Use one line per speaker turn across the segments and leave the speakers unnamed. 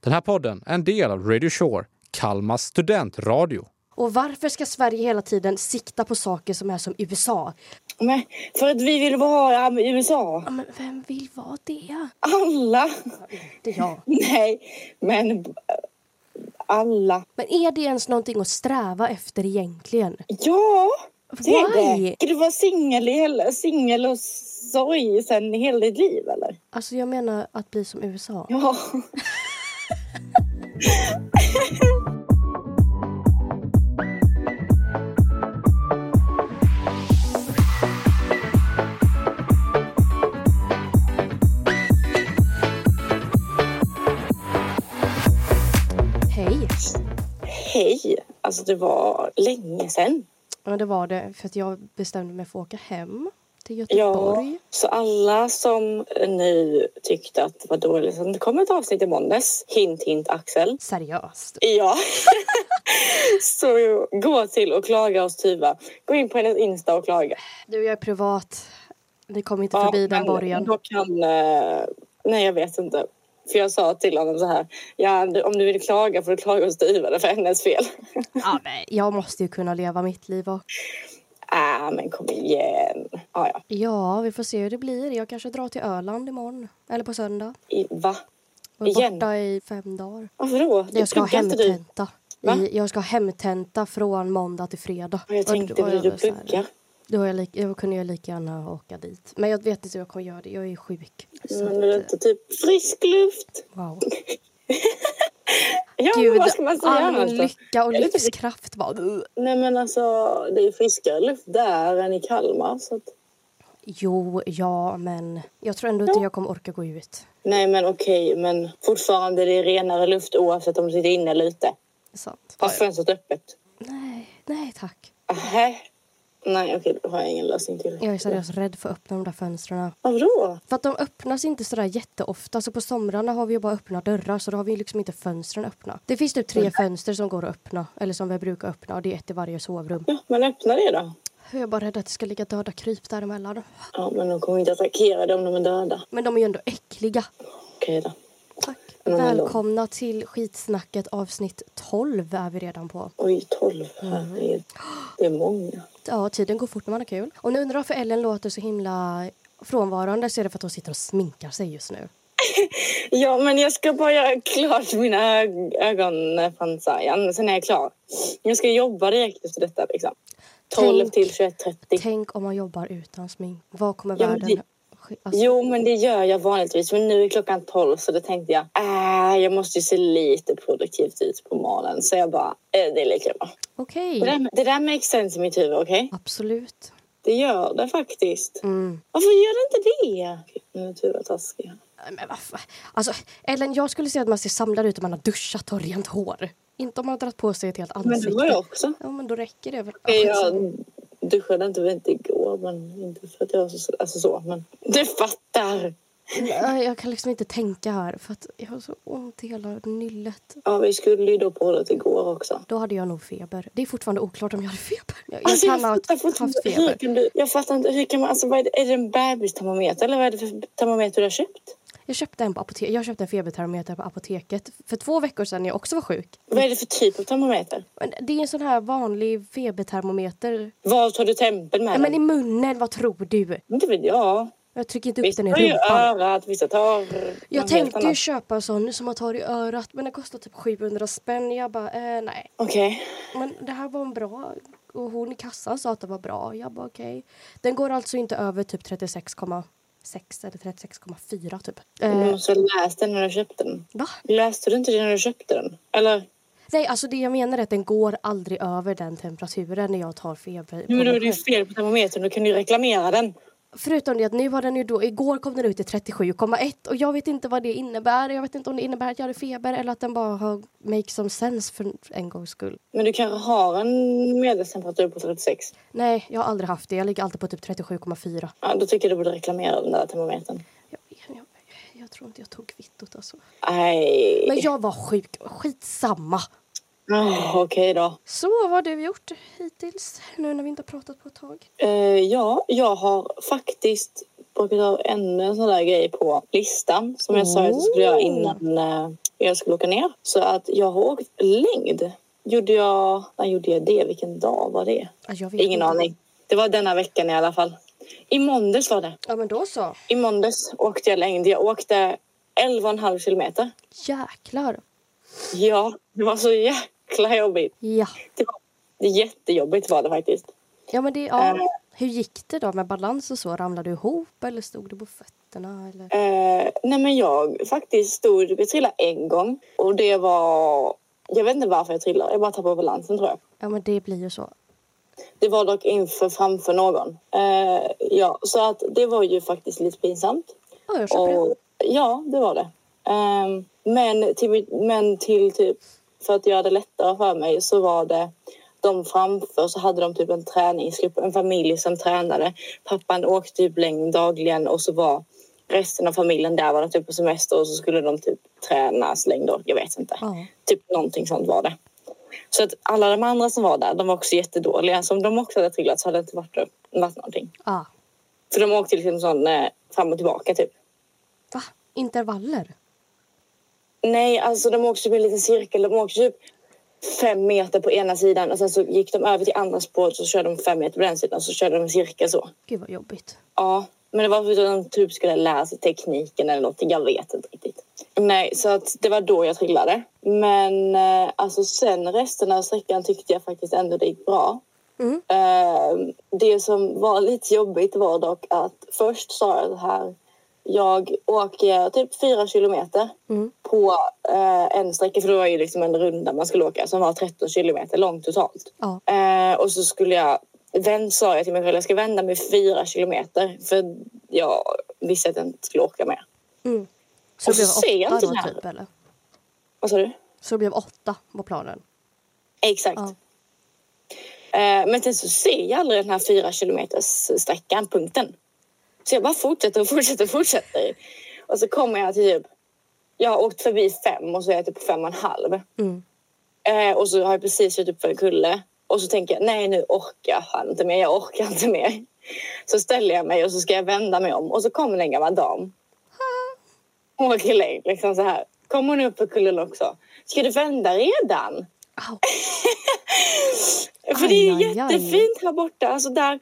Den här podden är en del av Radio Shore, Kalmas studentradio.
Och varför ska Sverige hela tiden sikta på saker som är som USA?
Men för att vi vill vara med USA.
Ja, men vem vill vara det?
Alla.
Det är jag.
Nej, men b- alla.
Men är det ens någonting att sträva efter egentligen?
Ja, det är
Why?
det. Ska du vara singel i hela- singel och sorg sen i hela ditt liv eller?
Alltså jag menar att bli som USA.
Ja.
Hej!
Hej. Alltså det var länge sen.
Ja det var det, för att jag bestämde mig för att åka hem till
Ja,
Göteborg.
så alla som nu tyckte att det var dåligt, så det kommer ett avsnitt i måndags. Hint, hint, Axel.
Seriöst.
Ja. så gå till och klaga hos Tuva. Gå in på hennes Insta och klaga.
Du, jag är privat. Ni kommer inte förbi den
men
borgen.
Då kan... eh, Nej, jag vet inte. För jag sa till honom så här. Ja, du- om du vill klaga får du klaga hos Tuva. Det är för hennes fel.
Ja, nej. Jag måste ju kunna leva mitt liv och...
Ah, men kom igen. Ah, ja.
Ja, vi får se hur det blir. Jag kanske drar till Öland imorgon. Eller på söndag.
I, va?
Och är
Igen?
borta i fem dagar.
Varför då?
Jag ska ha
pluggar inte du.
hemtenta.
Va?
I, jag ska ha hemtenta från måndag till fredag.
Ja, Ah, Jag
Och
tänkte,
då var
blir du
väl så här-
pluggar?
Då, var jag lik, då kunde jag lika gärna åka dit. Men jag vet inte hur jag kommer göra det. Jag är sjuk. Så
Men är det
att, eh,
inte typ frisk luft?
wow.
Ja, men
Gud,
vad ska man säga
all
annars då?
lycka och
Jag vet inte.
livskraft bara.
Nej, men alltså, det är friskare luft där än i Kalmar. Så att...
Jo, ja, men jag tror ändå inte jag kommer orka gå ut.
Nej, men okej, men fortfarande det är renare luft oavsett om du sitter inne eller ute.
Sant.
Har fönstret öppet?
Nej, nej tack.
Aha. Nej, okej, då har jag ingen lösning till.
Jag är seriöst rädd för att öppna de där fönstren.
Varför då?
För att de öppnas inte sådär jätteofta. Så på somrarna har vi ju bara öppna dörrar så då har vi ju liksom inte fönstren öppna. Det finns typ tre fönster som går att öppna. Eller som vi brukar öppna och det är ett i varje sovrum.
Ja, men öppna det då.
Jag är bara rädd att det ska ligga döda kryp däremellan.
Ja, men de kommer inte attackera dig om de är döda.
Men de är ju ändå äckliga.
Okej då.
Tack.
Men ändå.
Välkomna till skitsnacket avsnitt 12 är vi redan på.
Oj, tolv. Herregud. Det är många.
Ja, tiden går fort när man har kul. Och nu undrar varför Ellen låter så himla frånvarande så är det för att hon sitter och sminkar sig just nu.
Ja, men jag ska bara göra klart mina ög- ögonfransar. Ja, Sen är jag klar. Jag ska jobba direkt efter detta. Liksom. 12
Tänk-
till 21.30.
Tänk om man jobbar utan smink. Vad kommer
Ja, men
världen...
det-
ske- Alltså,
Jo, men det gör jag vanligtvis. Men nu är klockan 12 så då tänkte jag äh, jag måste ju se lite produktivt ut på morgonen. Så jag bara, äh, det är lika
Mm.
bra.
Okej.
Det där, det där makes sense i mitt huvud, okej?
Absolut.
Det gör det faktiskt.
Mm.
Varför gör det inte det? Nu är Tuva taskig.
Men vad fan. Alltså, Ellen, jag skulle säga att man ser samlad ut om man har duschat och rent hår. Inte om man har dragit på sig ett helt
Men
ansikte.
det var jag också.
Ja, men då räcker det väl. Alltså,
Okej, Jag duschade inte, inte igår, men inte för att jag var så... Alltså så, men... Du fattar!
Nej, Jag kan liksom inte tänka här för att jag har så ont i hela nyllet.
Ja, vi skulle ju då på det igår också.
Då hade jag nog feber. Det är fortfarande oklart om jag hade feber. Jag, jag
Alltså,
kan
jag,
ha
fattar
haft,
fortfarande
haft
inte. hur
feber.
kan du, jag fattar inte. Hur kan man, alltså, vad är, det, är det en bebistermometer eller vad är det för termometer du har köpt?
Jag köpte en, på apote- jag köpte en febertermometer på apoteket för två veckor sedan när jag också var sjuk.
Vad är det för typ av termometer?
Men det är en sån här vanlig febertermometer.
Var tar du tempen med
Nej, men i
den?
munnen, vad tror du?
Inte vet jag.
Jag trycker inte upp
Vissa
den i
tar ju äh,
rumpan.
örat, vissa tar...
Jag
något helt
tänkte ju
annat.
köpa en sån som man tar i örat men den kostar typ 700 spänn. Jag bara, eh, nej.
Okej.
Men det här var en bra... Och hon i kassan sa att det var bra. Jag bara okej. Den går alltså inte över typ 36,6 eller 36,4 typ.
Du
Eh,
måste ha läst den när du köpte den.
va?
Läste du inte det när du köpte den? Eller?
Nej, alltså det jag menar är att den går aldrig över den temperaturen när jag tar feber.
Nu
på
är
mig
det ju
själv.
fel på termometern. Du kan ju reklamera den.
Förutom det att nu har den ju då, igår kom den ut i 37,1 och jag vet inte vad det innebär. Jag vet inte om det innebär att jag hade feber eller att den bara har make some sense för en gångs skull.
Men du kanske har en medeltemperatur på 36?
Nej, jag har aldrig haft det. Jag ligger alltid på typ 37,4.
Ja, då tycker jag du borde reklamera den där termometern.
Jag, jag, jag tror inte jag tog kvittot alltså.
Nej.
Men jag var sjuk. Skitsamma.
Ah, Okej då.
Så, vad har du gjort hittills? Nu när vi inte har pratat på ett tag.
Eh, ja, jag har faktiskt bockat av ännu en sån där grej på listan som jag sa att jag skulle göra innan eh, jag skulle åka ner. Så att jag har åkt längd. Gjorde jag... När gjorde jag det? Vilken dag var det?
Ja, jag vet
Ingen
inte.
aning. Det var denna veckan i alla fall. I måndags var det.
Ja, men då så.
I måndags åkte jag längd. Jag åkte 11,5 kilometer.
Jäklar.
Ja, det var så jäkla jobbigt.
Ja.
Det var det är jättejobbigt var det faktiskt.
Ja, men det, ja.
Eh.
Hur gick det då med balans och så? Ramlade du ihop eller stod du på fötterna? Eller?
Eh, nej men jag faktiskt stod, jag trillade en gång och det var, jag vet inte varför jag trillade, jag bara tappade balansen tror jag.
Ja, men det blir ju så.
Det var dock inför framför någon. Eh, ja, så att det var ju faktiskt lite pinsamt.
Ja, jag köper det.
Och, ja, det var det. Ehm, men, till, mitt- men till typ, för att göra det lättare för mig så var det de framför så hade de typ en träningsgrupp, en familj som tränade. Pappan åkte typ längd dagligen och så var resten av familjen där var de typ på semester och så skulle de typ träna längder. Jag vet inte.
Ja.
Typ någonting sånt var det. Så att alla de andra som var där, de var också jättedåliga. Så om de också hade trillat så hade det inte varit, varit någonting.
Ah.
För de åkte liksom sån eh, fram och tillbaka typ.
Va? Intervaller?
Nej, alltså de åkte typ i en liten cirkel. De åkte typ fem meter på ena sidan och sen så gick de över till andra spåret och så körde de fem meter på den sidan och så körde de en cirkel så.
Gud vad jobbigt.
Ja, men det var för att de typ skulle lära sig tekniken eller någonting. Jag vet inte riktigt. Nej, så att det var då jag trillade. Men eh, alltså sen resten av sträckan tyckte jag faktiskt ändå det gick bra.
Mm.
Eh, det som var lite jobbigt var dock att först sa jag det här. Jag åker typ fyra kilometer
Mm.
på eh, en sträcka, för det var ju liksom en runda man skulle åka som var 13 kilometer lång totalt.
Ja.
Eh, och så skulle jag, vänd, sa jag till mig själv, jag ska vända mig fyra kilometer för jag visste att jag inte skulle åka mer.
Mm. Så
Och
det blev
så ser jag
åtta
inte
då
det här.
typ eller?
Vad sa du?
Så det blev åtta var planen?
Exakt.
Ja.
Eh, men sen så ser jag aldrig den här fyra kilometers sträckan, punkten. Så jag bara fortsätter och fortsätter och fortsätter. Och så kommer jag till typ, jag har åkt förbi fem och så är jag typ på fem och en halv.
Mm.
Eh, och så har jag precis kört upp för en kulle. Och så tänker jag, nej nu orkar jag inte mer, jag orkar inte mer. Så ställer jag mig och så ska jag vända mig om och så kommer det en gammal dam. Hon var kille, liksom så här. Kommer hon upp för kullen också? Ska du vända redan?
Au.
För det är ju
Aj, aj, aj.
jättefint här borta. Alltså där,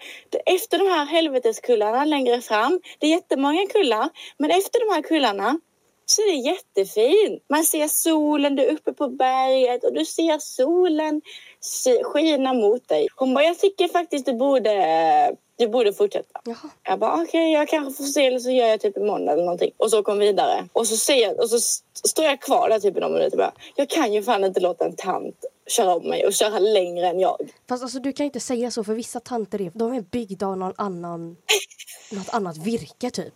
efter de här helveteskullarna längre fram, det är jättemånga kullar, men efter de här kullarna så är det jättefint. Man ser solen, du är uppe på berget och du ser solen sk- skina mot dig. Hon bara, jag tycker faktiskt du borde, du borde fortsätta.
Jaha.
Jag bara okej, jag kanske får se eller så gör jag typ imorgon eller någonting. Och så kom vidare. Och så, ser jag, och så st- står jag kvar där typ i några minuter och bara, jag kan ju fan inte låta en tant köra om mig och köra längre än jag.
Fast alltså, du kan inte säga så för vissa tanter är, de är byggda av någon annan, något annat virke typ.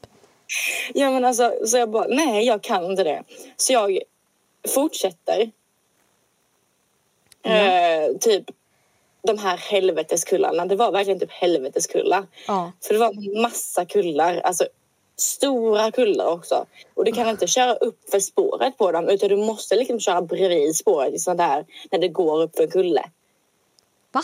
Ja men alltså, så jag bara, nej jag kan inte det. Så jag fortsätter. Eh, typ de här helveteskullarna. Det var verkligen typ helveteskullar.
Ja.
För det var massa kullar, alltså stora kullar också. Och du kan inte köra upp för spåret på dem utan du måste liksom köra bredvid spåret i sånt där när det går upp för en kulle.
Va?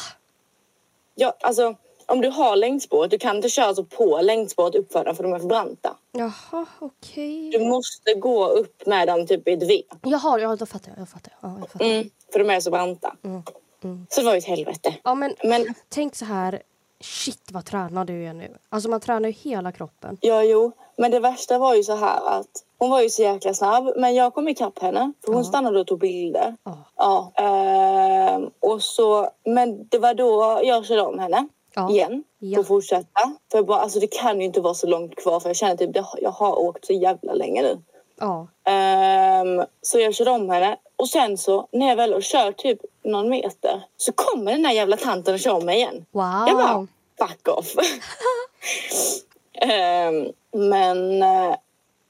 Ja, alltså om du har längdspåret, du kan inte köra så på längdspåret uppför dem för de är för branta.
Jaha, okej.
Du måste gå upp med dem typ i ett V.
Jaha, ja, då fattar jag. jag, fattar. Ja, jag fattar.
Mm, för de är så branta.
Mm, mm.
Så det var ju ett helvete.
Ja, men,
Mm. Men-
tänk så här. Shit vad tränad du är nu. Alltså man tränar ju hela kroppen.
Ja, jo. Men det värsta var ju så här att hon var ju så jäkla snabb. Men jag kom ikapp henne. För hon
Ja.
stannade och tog bilder.
Ja.
Ja. ehm, och så, men det var då jag körde om henne
Ja.
igen.
Ja.
För att fortsätta. För jag bara, alltså det kan ju inte vara så långt kvar. För jag känner typ, det, jag har åkt så jävla länge nu.
Ja.
Ehm, så jag körde om henne. Och sen så, när jag väl kör typ någon meter. Så kommer den där jävla tanten och kör om mig igen.
Wow.
Jag bara, fuck off. Ehm, men eh,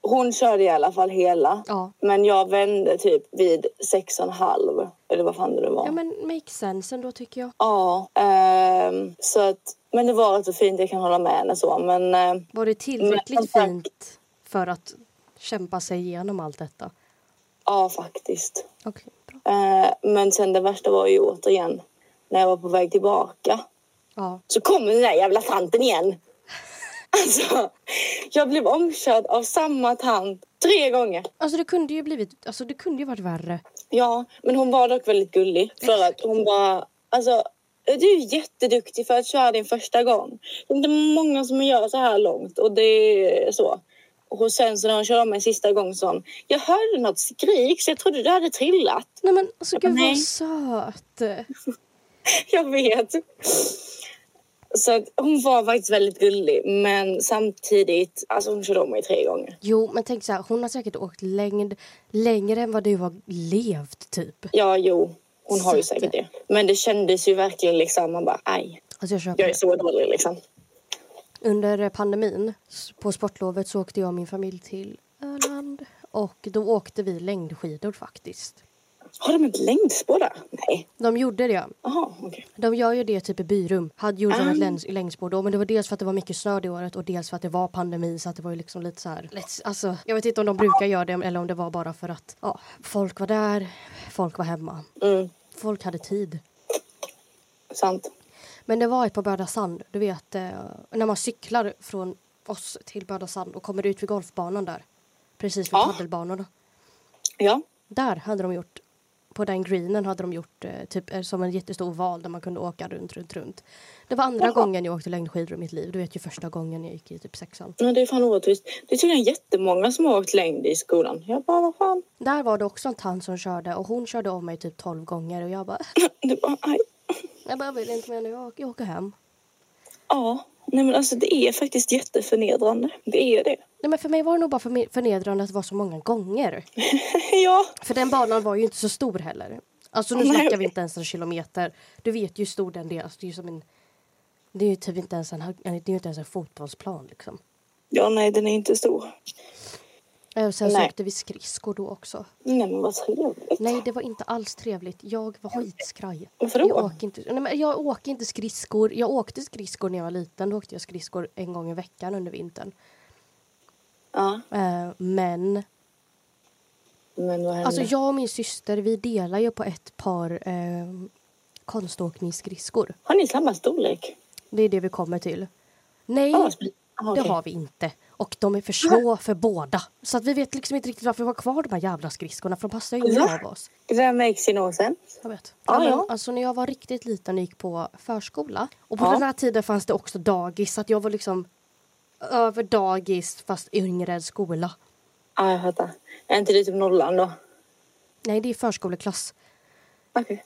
hon körde i alla fall hela.
Ja.
Men jag vände typ vid sex och en halv. Eller vad fan det nu var.
Ja men make sense ändå tycker jag.
Ja, ehm, så att, men det var rätt så fint, jag kan hålla med henne så. Men eh,
Var det
Men,
tillräckligt
tack.
fint för att kämpa sig igenom allt detta?
ja, faktiskt.
Okej, bra.
Eh, men sen det värsta var ju återigen när jag var på väg tillbaka.
Ja.
Så kommer den där jävla tanten igen. Alltså, jag blev omkörd av samma tant tre gånger.
Alltså det kunde ju blivit, alltså det kunde ju varit värre.
Ja, men hon var dock väldigt gullig för att hon bara... Alltså, du är jätteduktig för att köra din första gång. Det är inte många som gör så här långt och det är så. Och sen så när hon körde om mig sista gång så hon, jag hörde något skrik så jag trodde du hade trillat.
Nej men alltså gud
Nej.
vad söt.
Jag vet. Så att hon var faktiskt väldigt gullig men samtidigt, alltså hon körde om mig tre gånger.
Jo men tänk så här, hon har säkert åkt längd, längre än vad du har levt typ.
Ja, jo, hon har ju
Sätter.
säkert det. Men det kändes ju verkligen liksom, man bara aj,
Alltså jag köper
jag är
det.
så dålig liksom.
Under eh, pandemin s- på sportlovet så åkte jag och min familj till Öland. Och då åkte vi längdskidor faktiskt.
Har de ett längdspår där? Nej.
De gjorde det.
Jaha, okej.
De gör ju det typ i Byrum. Hade gjort
Ah.
ett längs, längsspår då. Men det var dels för att det var mycket snö det året och dels för att det var pandemi. Så att det var ju liksom lite så här. let's- Alltså, jag vet inte om de brukar göra det eller om det var bara för att ja, folk var där, folk var hemma.
Mm,
Folk hade tid.
sant.
Men det var ett på Böda Sand. Du vet, eh, när man cyklar från oss till Böda Sand och kommer ut vid golfbanan där. Precis vid
Ja.
padelbanorna.
Ja.
Där hade de gjort, på den greenen hade de gjort eh, typ eh, som en jättestor oval där man kunde åka runt, runt, runt. Det var andra
Jaha.
gången jag åkte längdskidor i mitt liv. Du vet ju första gången jag gick i typ sexan.
Men det är fan orättvist. Det är tydligen jättemånga som har åkt längd i skolan. Jag bara, vad fan?
Där var det också en tant som körde och hon körde om mig typ 12 gånger och jag bara, "Äh,
Det bara, aj.
jag bara vill inte mer nu, jag, åker- jag åker hem.
Ja. Nej men alltså det är faktiskt jätteförnedrande. Det är det.
Nej men för mig var det nog bara förme- förnedrande att det var så många gånger.
ja.
För den banan var ju inte så stor heller. Alltså nu
Nej.
snackar vi inte ens en kilometer. Du vet ju hur stor den är. Alltså, det är ju som en... Det är ju typ inte ens en, hö- det är ju inte ens en fotbollsplan liksom.
Ja, nej den är inte stor.
Eh, Sen så
Nej.
åkte vi skridskor då också.
Nej men vad trevligt.
Nej, det var inte alls trevligt. Jag var skitskraj.
Varför då?
Jag åker, inte, nej, men jag åker inte skridskor. Jag åkte skridskor när jag var liten. Då åkte jag skridskor en gång i veckan under vintern.
Ja.
Eh, men
Men vad hände?
alltså, jag och min syster vi delar ju på ett par eh, konståkningsskridskor.
Har ni samma storlek?
Det är det vi kommer till. Nej,
Ja, vad smidigt. Ja,
det
Ah, okej.
har vi inte. Och de är för små för båda. Så att vi vet liksom inte riktigt varför vi har kvar de här jävla skridskorna. För de passar ju ingen
Va?
av oss.
Det där makes you no sense.
Jag vet.
Ja,
Ja, men,
ja.
alltså, när jag var riktigt liten och gick på förskola. Och på
Ja.
den här tiden fanns det också dagis. Så att jag var liksom över dagis fast yngre än skola.
Ja, jag fattar. Är inte det typ nollan då?
Nej, det är förskoleklass.
Okej.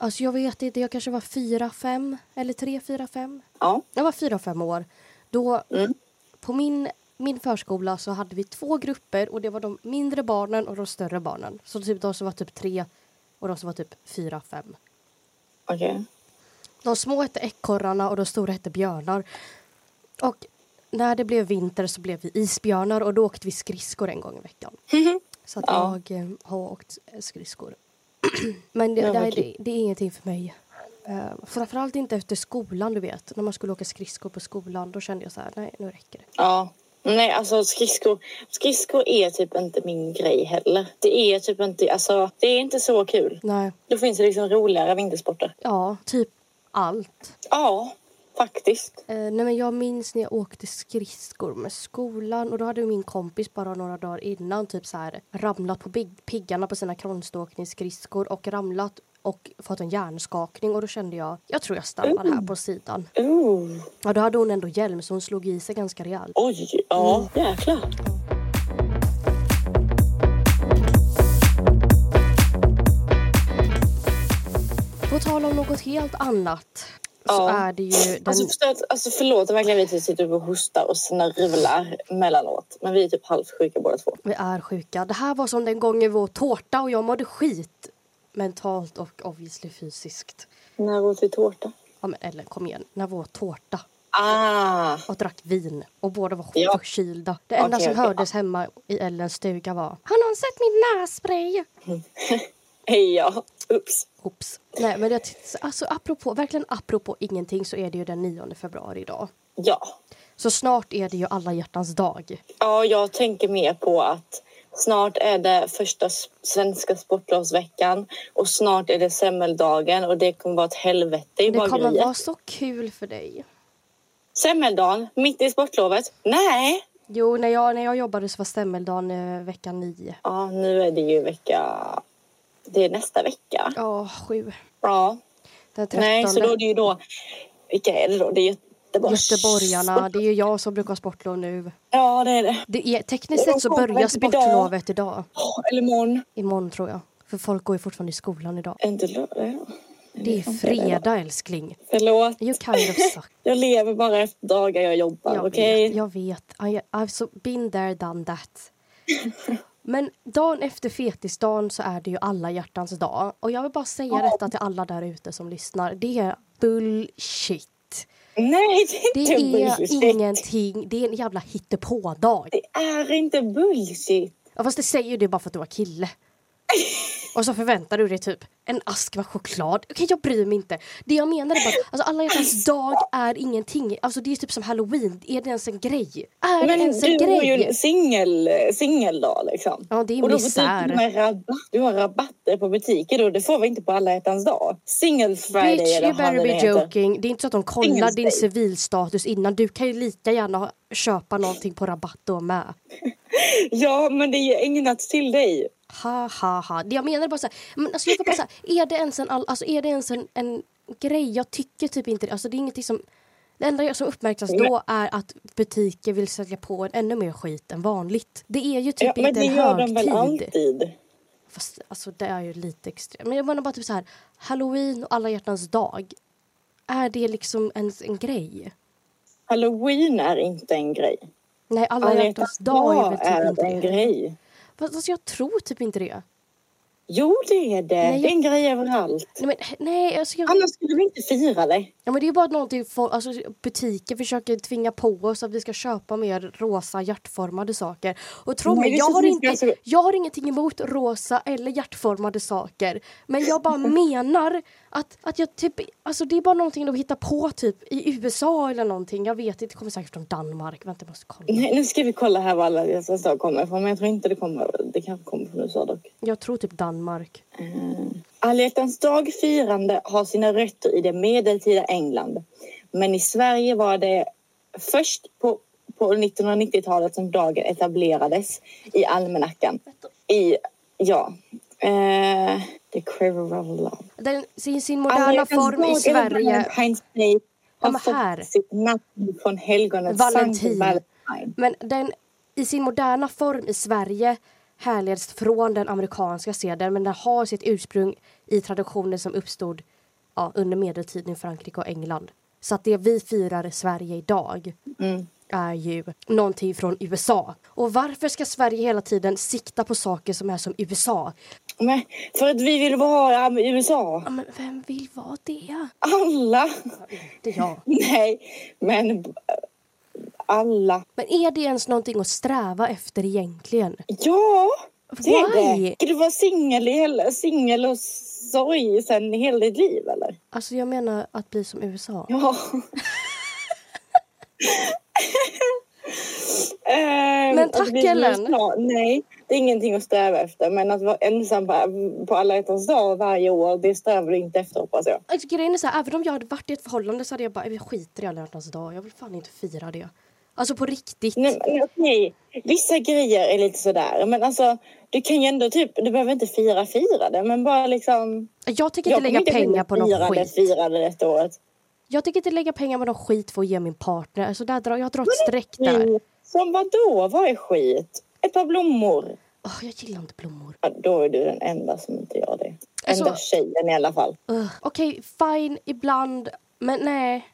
Alltså jag vet inte, jag kanske var fyra, fem eller tre, fyra, fem.
Ja.
Jag var fyra, fem år. Då
Mm.
på min, min förskola så hade vi två grupper och det var de mindre barnen och de större barnen. Så typ de som var typ tre och de som var typ fyra, fem.
Okej.
De små hette ekorrarna och de stora hette björnar. Och när det blev vinter så blev vi isbjörnar och då åkte vi skridskor en gång i veckan. Så att
Mm-hmm. Ja.
jag eh, har åkt skridskor. Men det,
Ja, vad
det, här- det,
kul.
det är ingenting för mig. Uh, framförallt inte efter skolan, du vet. När man skulle åka skridskor på skolan, då kände jag så här, nej, nu räcker det.
Ja. Nej, alltså skridskor, skridskor är typ inte min grej heller. Det är typ inte, alltså det är inte så kul.
Nej,
Då finns det liksom roligare vintersporter.
ja, typ allt.
Ja, faktiskt.
Eh, nej men jag minns när jag åkte skridskor med skolan och då hade min kompis bara några dagar innan typ så här ramlat på pig- piggarna på sina konståkningsskridskor och ramlat och fått en hjärnskakning och då kände jag, jag tror jag stannar här på sidan.
Ooh.
Ja då hade hon ändå hjälm så hon slog i sig ganska rejält.
Oj, ja.
Mm.
Jäklar.
På tal om något helt annat så
Ja.
är det ju den...
Alltså, förstår att, alltså förlåt, verkligen vi typ sitter och hostar och snörvlar mellanåt. Men vi är typ halvsjuka båda två.
Vi är sjuka. Det här var som den gången vi åt tårta och jag mådde skit. Mentalt och obviously fysiskt.
När åt vi tårta?
Ja, men, eller kom igen, när vi åt tårta
Ah!
och drack vin och båda var
Ja.
förkylda. Det enda
Okej,
som
okej.
hördes hemma i Ellens stuga var Har någon sett min nässpray?
Hej, ja. Ups.
Oops. Nej, men det, alltså, apropå, verkligen apropå ingenting så är det ju den 9 februari idag.
Ja.
Så snart är det ju alla hjärtans dag.
Ja, jag tänker mer på att snart är det första s- svenska sportlovsveckan och snart är det semmeldagen och det kommer vara ett helvete i
Det kommer
bageriet.
vara så kul för dig.
Semmeldagen, mitt i sportlovet. Nej!
Jo, när jag, när jag jobbade så var semmeldagen eh, vecka nio.
Ja, nu är det ju vecka... Det är nästa vecka.
Ja, sju.
Ja.
Den trettonde.
Nej, så då är det ju då... Vilka är det då? Det är Göteborg.
Göteborgarna. Det är ju jag som brukar ha sportlov nu.
Ja, det är det.
Det är, tekniskt
Men de
sett så
kommer
börjar
inte idag.
sportlovet idag.
Åh, eller imorgon.
Imorgon tror jag. För folk går ju fortfarande i skolan idag.
Är inte lördag?
Det är fredag älskling.
Förlåt.
You kind of suck.
Jag lever bara efter dagar jag jobbar,
Jag
okej?
vet, jag vet. I, I've so been there, done that. Men dagen efter fetisdagen så är det ju alla hjärtans dag. Och jag vill bara säga detta till alla där ute som lyssnar. Det är bullshit.
Nej, det
Det
är
är
inte bullshit.
ingenting. Det är en jävla hittepådag.
Det är inte bullshit.
Ja, fast det säger ju det bara för att du var kille. Och så förväntar du dig typ en ask med choklad. Okej, jag bryr mig inte. Det jag menar är bara att alltså, alla hjärtans dag är ingenting. Alltså det är typ som halloween. Är det ens en grej? Är det
Men
ens en
du har ju en
grej?
singel, singeldag liksom.
Ja, det är
Och då
misär.
butiker med rabatt. Du har rabatter på butiker och det får vi inte på alla hjärtans dag. Single friday
Bitch,
eller
you
vad fan
better
den
be
heter.
joking. Det är inte så att de kollar
Ingen
din
stil.
civilstatus innan. Du kan ju lika gärna ha- köpa någonting på rabatt då med.
Ja, men det är ju ägnat till dig.
Typ Ha, ha, ha. Det jag menar är bara så här, men alltså jag kan bara så här, är det ens en, all, alltså är det ens en, en grej? Jag tycker typ inte det. Alltså det är ingenting som, det enda jag- som uppmärksammas då är att butiker vill sälja på en ännu mer skit än vanligt. Det är ju typ
ja, men
inte
det
en
gör de väl
högtid.
alltid?
Fast alltså det är ju lite extremt. Men jag menar bara typ så här, halloween och alla hjärtans dag. Är det liksom ens en grej?
Halloween är inte en grej.
Nej, alla, hjärtans dag är väl typ inte
är en
det.
grej.
Fast alltså jag tror typ inte det.
Jo, det är det.
Nej,
Det är en grej överallt.
Nej, men, nej alltså jag...
Annars skulle vi inte fira det.
Ja, men det är bara någonting folk, alltså, butiker försöker tvinga på oss att vi ska köpa mer rosa hjärtformade saker. Och tro
Nej,
mig,
det är
jag
så
har,
mycket alltså-
inte,
jag ska-
jag har ingenting emot rosa eller hjärtformade saker. Men jag bara
Mm.
menar att, att jag typ, alltså, det är bara någonting de hittar på typ i USA eller någonting. Jag vet inte, det kommer säkert från Danmark. Vänta, jag måste kolla.
Nej, nu ska vi kolla här var alla hjärtans dag kommer ifrån. Men jag tror inte det kommer. Det kanske kommer från USA dock.
Jag tror typ Danmark.
Alla hjärtans dag firande har sina rötter i det medeltida England. Men i Sverige var det först på, på 1990-talet som dagen etablerades i almanackan. I, ja, eh, The Quiver of Love.
Den, sin, sin
Alla
moderna
hjärtans
form i
dag eller
Sverige.
Valentine's Day
Ja,
har
men här.
fått sitt namn från helgonet
Valentin.
Sankt Valentine.
Men den i sin moderna form i Sverige härleds från den amerikanska seden men den har sitt ursprung i traditioner som uppstod ja, under medeltiden i Frankrike och England. Så att det vi firar i Sverige idag är ju någonting från USA. Och varför ska Sverige hela tiden sikta på saker som är som USA?
Men för att vi vill vara um, USA.
Ja, men vem vill vara det?
Alla!
Det är jag.
Nej, men b- alla.
Men är det ens någonting att sträva efter egentligen?
Ja, det är
Why?
det. Ska du vara singel i hela- singel och sorg sen i hela ditt liv, eller?
Alltså jag menar att bli som USA.
Ja. Ehm,
Men tack,
att vi-
Ellen.
Ja, nej, det är ingenting att sträva efter. Men att vara ensam på, på alla hjärtans dag varje år, det strävar du inte efter hoppas jag.
Alltså, grejen är så här, även om jag hade varit i ett förhållande så hade jag bara, "Äh, jag skiter i alla hjärtans dag. Jag vill fan inte fira det. Alltså på riktigt.
Nej, men okej. Vissa grejer är lite sådär. Men alltså, du kan ju ändå typ, du behöver inte fira fira det, men bara liksom.
jag tänker inte
kommer
lägga
vilja
pengar på någon
fira det,
skit.
Fira det detta året.
Jag tänker inte lägga pengar på någon skit för att ge min partner. Alltså där drar, jag drar ett streck där.
Mm. Som vadå? Vad är skit? Ett par blommor.
Åh, jag gillar inte blommor.
Ja, då är du den enda som inte gör det.
Alltså-
Enda tjejen i alla fall.
Ugh. Okej, fine ibland. Men nej.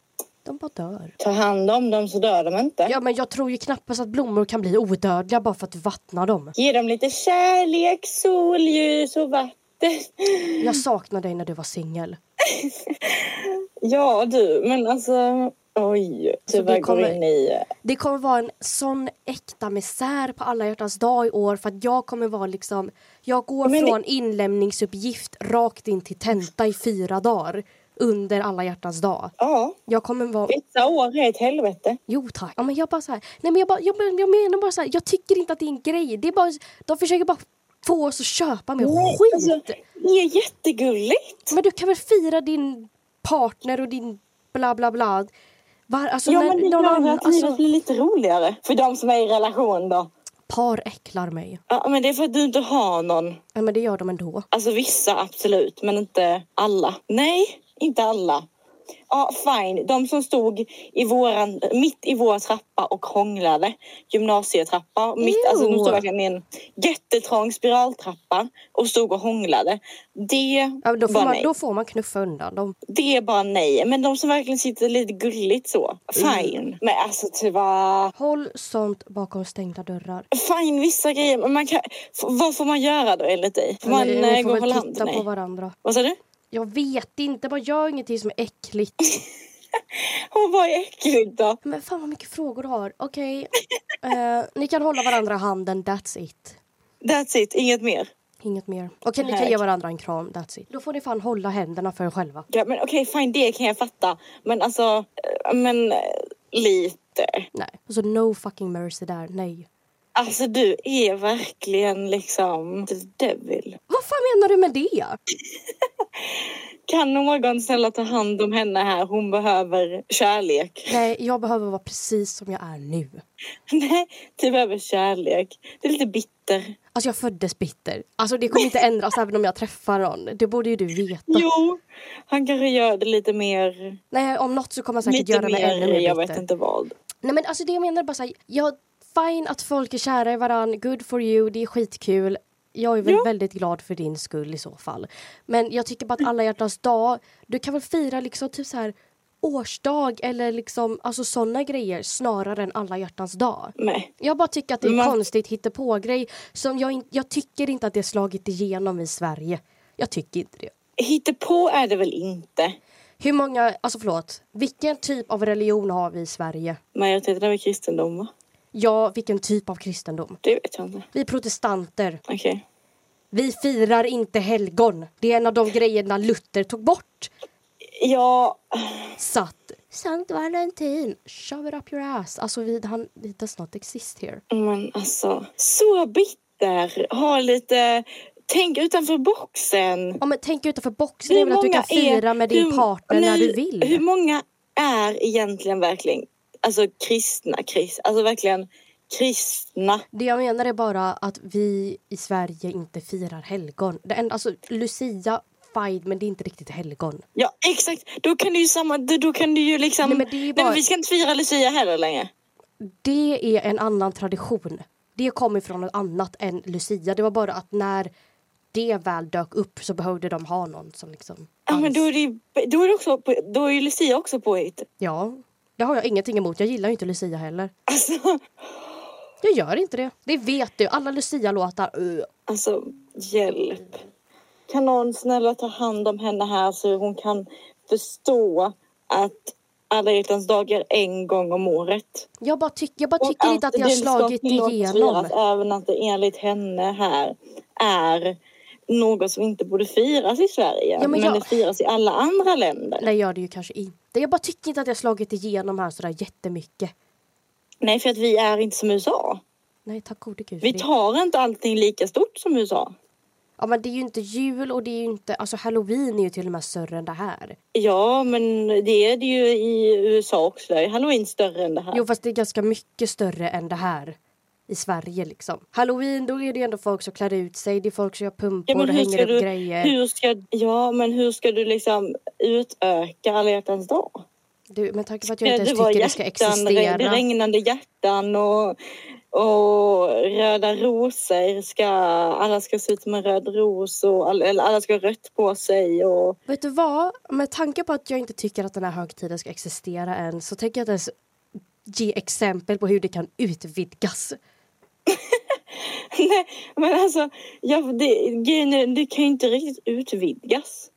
De bara dör.
Ta hand om dem så dör de inte.
Ja, men jag tror ju knappast att blommor kan bli odödliga bara för att du vattnar dem.
Ge dem lite kärlek, solljus och vatten.
Jag saknar dig när du var singel.
Ja, du, men alltså... Oj,
Så
tyvärr
du kommer-
går in i...
Det kommer vara en sån äkta misär på alla hjärtans dag i år för att jag kommer vara liksom Jag går
Men det-
från inlämningsuppgift rakt in till tenta i fyra dagar under alla hjärtans dag.
Ja,
Jag kommer vara...
vissa år är ett helvete.
Jo tack. Ja, men jag bara så här. Nej men jag, bara, jag, men- jag menar bara så här. Jag tycker inte att det är en grej. Det är bara, de försöker bara få oss att köpa mer
Nej,
skit.
alltså, det är jättegulligt.
Men du kan väl fira din partner och din bla bla bla Var, alltså,
Ja,
när
men det
någon
gör
annan-
att livet
alltså,
blir lite roligare för de som är i relation då.
Par äcklar mig.
Ja, men det är för att du inte har någon.
Ja, men det gör de ändå.
Alltså vissa absolut, men inte alla. Nej, inte alla. Ja, fine. De som stod i våran, mitt i vår trappa och hånglade. Gymnasietrappa. Mitt,
Ew.
alltså, de stod verkligen i en jättetrång spiraltrappa och stod och hånglade. Det,
Ja, då, får
bara
man,
nej.
då får man knuffa undan dem.
det är bara nej. Men de som verkligen sitter lite gulligt så, fine.
Mm.
Men alltså typ, va?
Håll sånt bakom stängda dörrar.
Fine, vissa grejer. Men man kan, f- vad får man göra då enligt dig? Får man
Ni-
eh,
ni
gå
får
och hålla
väl
hand?
titta på
Nej.
varandra.
Vad sa du?
Jag vet inte, man gör ingenting som är äckligt.
Hon var äcklig då.
Men fan vad mycket frågor du har. Okej, eh, ni kan hålla varandra i handen, that's it.
That's it, inget mer.
Inget mer. Okej, ni kan
Tack.
ge varandra en kram, that's it. Då får ni fan hålla händerna för er själva.
Ja, men okej, fine, det kan jag fatta. Men alltså, eh, men eh, lite.
Nej, alltså no fucking mercy där, nej.
Alltså du är verkligen liksom the devil.
Vad fan menar du med det?
Kan någon snälla ta hand om henne här? Hon behöver kärlek.
Nej, jag behöver vara precis som jag är nu.
Nej, du behöver kärlek. Det är lite bitter.
Alltså jag föddes bitter. Alltså det kommer inte ändras även om jag träffar någon. Det borde ju du veta.
Jo, han kanske gör det lite mer...
Nej, om något så kommer jag säkert
Lite
göra
mer,
mig ännu mer
jag
bitter.
vet inte vad.
Nej men alltså det jag menar är bara såhär, jag fine att folk är kära i varann, good for you, det är skitkul. Jag är väl
Ja.
väldigt glad för din skull i så fall. Men jag tycker bara att alla hjärtans dag, du kan väl fira liksom typ så här årsdag eller liksom alltså sådana grejer snarare än alla hjärtans dag.
Nej.
Jag bara tycker att det är
Men-
konstigt hittepågrej som jag, in- jag tycker inte att det har slagit igenom i Sverige. Jag tycker inte det.
Hittepå är det väl inte?
Hur många, alltså förlåt, vilken typ av religion har vi i Sverige?
Majoriteten är kristendom, va?
Ja, vilken typ av kristendom?
Det vet jag inte.
Vi är protestanter.
Okej.
Vi firar inte helgon. Det är en av de grejerna Luther tog bort.
Ja,
Så att... Sankt Valentin, shove it up your ass. Alltså, vi, han, it does not exist here.
men alltså. Så bitter. Ha lite... Tänk utanför boxen.
Ja, men tänk utanför boxen. Det är väl att du kan fira med din
hur-
partner när
nej,
du vill.
Hur många är egentligen verkligen alltså kristna? Krist, alltså verkligen kristna.
Det jag menar är bara att vi i Sverige inte firar helgon. Det enda, alltså, Lucia, fine, men det är inte riktigt helgon.
Ja, exakt. Då kan du ju samma... Då då kan du ju liksom...
Nej, men det är ju
Nej, men
bara-
vi ska inte fira Lucia heller längre.
Det är en annan tradition. Det kommer från något annat än Lucia. Det var bara att när det väl dök upp så behövde de ha någon som liksom...
Ja, men
fanns.
då är det ju, då är det också, på- då är ju Lucia också påhitt.
ja, det har jag ingenting emot. Jag gillar ju inte Lucia heller.
Alltså,
Jag gör inte det. Det vet du. Alla Lucia-låtar. Uh.
Alltså, hjälp. Kan någon snälla ta hand om henne här så hon kan förstå att alla hjärtans dagar är en gång om året?
Jag bara, tyck, jag bara
Och
tycker inte att det har
ska
slagit
tillåtas
igenom.
firas, Även att det enligt henne här är något som inte borde firas i Sverige.
Ja, men
men
jag-
det firas i alla andra länder. Nej.
Nej, gör det ju kanske inte. Jag bara tycker inte att det har slagit igenom här sådär jättemycket.
för att vi är inte som USA.
Nej, tack gode gud för
Vi
det.
tar inte allting lika stort som USA.
Ja, men det är ju inte jul och det är ju inte... Alltså halloween är ju till och med större än det här.
Ja, men det är det ju i USA också. Där är Halloween större än det här.
Jo, fast det är ganska mycket större än det här i Sverige liksom. Halloween, då är det ändå folk som klär ut sig, det är folk som gör
Ja,
pumpor
men
och
hur
hänger
ska,
upp
du,
grejer.
hur ska, ja, men hur ska du liksom utöka alla hjärtans dag?
Du, men tack för att jag
Ska
inte ens tycker det ska
re-
existera.
regnande hjärtan och, och röda rosor? Ska, alla ska se ut som en röd ros och all, eller alla ska ha rött på sig. Och,
Vet du vad? Med tanke på att jag inte tycker att den här högtiden ska existera än så tänker jag inte ens ge exempel på hur det kan utvidgas.
nej, men alltså, ja, det, grejen är, det kan ju inte riktigt utvidgas.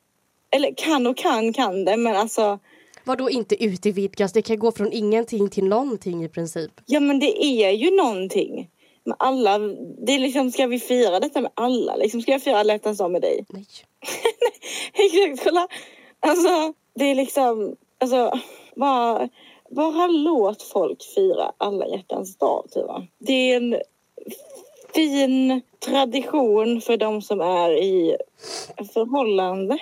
Eller kan och kan kan det, men alltså...
Vadå inte utvidgas? Det kan gå från ingenting till någonting i princip.
Ja, men det är ju någonting. Med alla, det är liksom, ska vi fira detta med alla? Liksom, ska jag fira alla hjärtans dag med dig?
Nej.
Exakt, kolla! Alltså, det är liksom... Alltså, bara, bara låt folk fira alla hjärtans dag, Tuva. Det är en fin tradition för de som är i förhållande.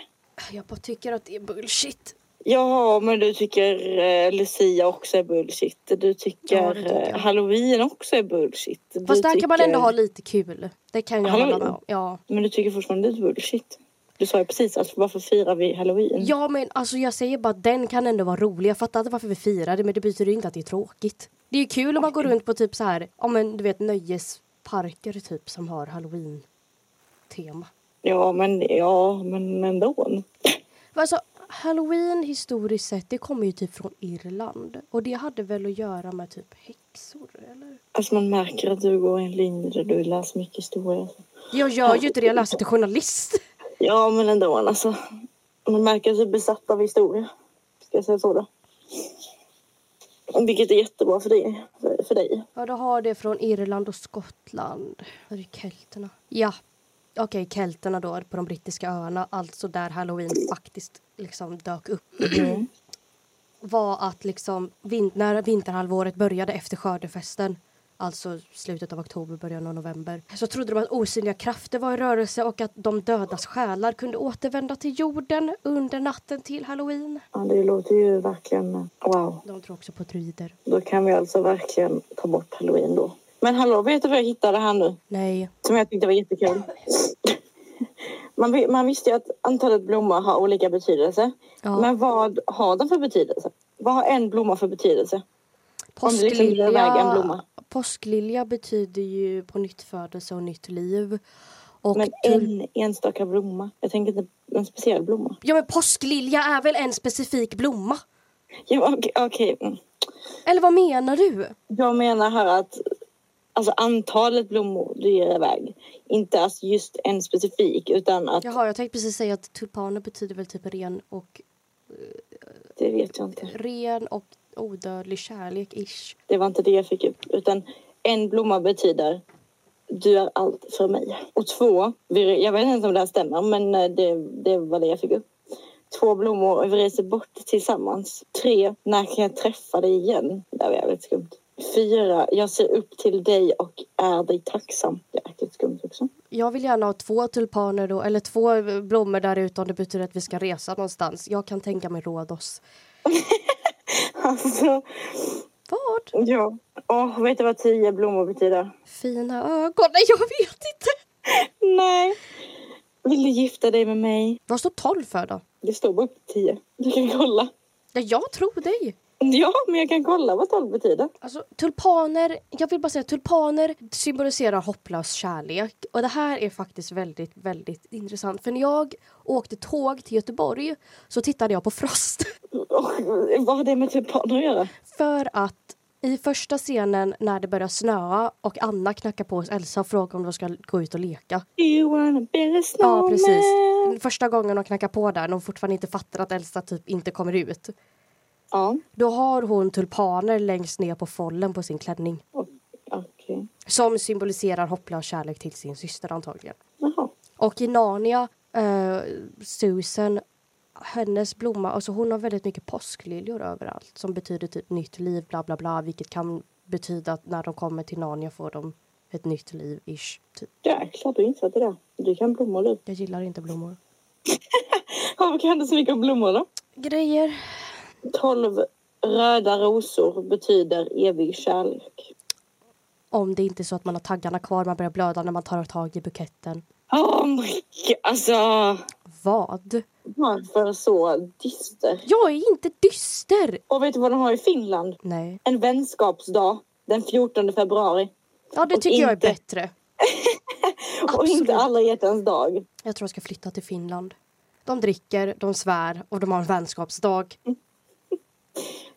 Jag bara tycker att det är bullshit.
Jaha, men du tycker eh, Lucia också är bullshit. Du tycker,
Ja, det tycker jag.
eh, halloween också är bullshit. Du
Fast där
tycker,
kan man ändå ha lite kul. Det kan jag
Halloween?
hålla med om. Ja.
Men du tycker fortfarande det är bullshit. Du sa ju precis, alltså, varför firar vi halloween?
ja, men alltså jag säger bara att den kan ändå vara rolig. Jag fattar inte varför vi firar det, men det betyder ju inte att det är tråkigt. Det är ju kul om man går runt på typ så här, ja men du vet nöjesparker typ som har halloween-tema.
Ja, men, ja, men, men då.
Alltså, halloween historiskt sett, det kommer ju typ från Irland. Och det hade väl att göra med typ häxor, eller?
Alltså man märker att du går i en linje där du läser mycket historia.
Jag gör ju inte det, jag läser till journalist.
Ja, men ändå alltså. Man märker att du är besatt av historia. Ska jag säga så då? Vilket är jättebra för dig. För, för dig.
Ja, då har det från Irland och Skottland. Var är det kelterna? Ja. Okej, kelterna då på de brittiska öarna, alltså där halloween faktiskt liksom dök upp var att liksom vin- när vinterhalvåret började efter skördefesten alltså slutet av oktober, början av november så trodde de att osynliga krafter var i rörelse och att de dödas själar kunde återvända till jorden under natten till halloween.
Ja, det låter ju verkligen wow.
De tror också på druider.
Då kan vi alltså verkligen ta bort halloween då. Men hallå, vet du vad jag hittade här nu?
Nej.
Som jag tyckte var jättekul. Man, vi- man visste ju att antalet blommor har olika betydelse.
Ja.
Men vad har de för betydelse? Vad har en blomma för betydelse? om du liksom ger iväg en
Påsklilja,
blomma.
påsklilja betyder ju på nytt födelse och nytt liv. Och
Men
tull-
en enstaka blomma. Jag tänker inte en speciell blomma.
Ja men påsklilja är väl en specifik blomma?
Ja, okej. okej. Mm.
Eller vad menar du?
Jag menar här att alltså, antalet blommor du ger iväg. Inte alltså just en specifik utan att
Jaha, jag tänkte precis säga att tulpaner betyder väl typ ren och,
det vet jag inte.
ren och odödlig kärlek ish.
Det var inte det jag fick upp. Utan en blomma betyder du är allt för mig. Och två, vi- jag vet inte ens om det här stämmer men eh, det, det var det jag fick upp. Två blommor och vi reser bort tillsammans. Tre, när kan jag träffa dig igen? Det där var jävligt skumt. Fyra, jag ser upp till dig och är dig tacksam. Det är jäkligt skumt också.
Jag vill gärna ha två tulpaner då, eller två blommor där ute om det betyder att vi ska resa någonstans. Jag kan tänka mig Rhodos.
Alltså,
Vad?
ja. Åh, vet du vad tio blommor betyder?
Fina ögon? Nej, jag vet inte!
Nej. Vill du gifta dig med mig?
Vad står tolv för då?
Det står bara upp till tio. Du kan kolla.
Ja, jag tror dig.
Ja, men jag kan kolla vad 12 betyder.
Alltså, tulpaner, jag vill bara säga tulpaner symboliserar hopplös kärlek. Och det här är faktiskt väldigt, väldigt intressant. För när jag åkte tåg till Göteborg så tittade jag på Frost.
Och, vad har det med tulpaner att göra?
För att i första scenen när det börjar snöa och Anna knackar på hos Elsa och frågar om de ska gå ut och leka.
You wanna be a snowman?
Ja, precis. Första gången de knackar på där, när hon fortfarande inte fattar att Elsa typ inte kommer ut.
Ja,
Då har hon tulpaner längst ner på follen på sin klänning.
okej.
Som symboliserar hopplös kärlek till sin syster antagligen.
Jaha.
Och i Narnia, eh, Susan, hennes blomma, alltså hon har väldigt mycket påskliljor överallt som betyder typ nytt liv, bla bla bla, vilket kan betyda att när de kommer till Narnia får de ett nytt liv, ish. Typ.
Jäklar, du insatte det. Du kan blommor du.
Jag gillar inte blommor.
Varför kan du så mycket om blommor då?
Grejer.
12 röda rosor betyder evig kärlek.
Om det inte är så att man har taggarna kvar, man börjar blöda när man tar tag i buketten.
Oh my god, alltså.
Vad?
Varför så dyster?
Jag är inte dyster!
Och vet du vad de har i Finland?
Nej.
En vänskapsdag den 14 februari.
Ja, det
Och
tycker jag är
inte-
bättre.
Och
Absolut.
inte alla hjärtans dag.
Jag tror jag ska flytta till Finland. De dricker, de svär och de har en vänskapsdag.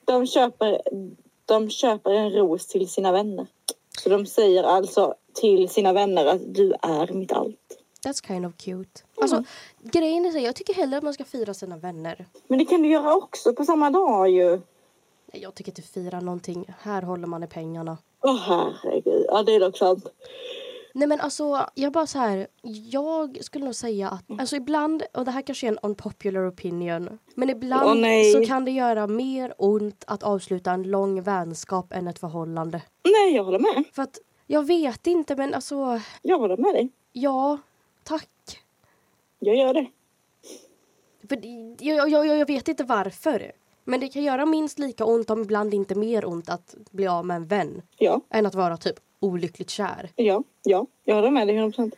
De köper, de köper en ros till sina vänner. Så de säger alltså till sina vänner att du är mitt allt.
That's kind of cute.
Mm.
Alltså, grejen är så här, jag tycker hellre att man ska fira sina vänner.
Men det kan du göra också på samma dag ju.
Nej, Jag tycker inte fira någonting. Här håller man i pengarna.
Åh herregud. Ja det är dock sant.
Nej men alltså, jag bara så här. Jag skulle nog säga
Mm.
att, alltså ibland, och det här kanske är en unpopular opinion. Men
Åh,
ibland
nej.
så kan det göra mer ont att avsluta en lång vänskap än ett förhållande.
Nej jag håller med.
För att, jag vet inte men alltså,
Jag håller med dig.
ja, tack.
Jag gör det.
Det För det- jag, jag, jag, jag vet inte varför. Men det kan göra minst lika ont, om ibland inte mer ont, att bli av med en vän.
Ja,
Än att vara typ olyckligt kär.
ja, ja. Jag håller med dig 100 procent.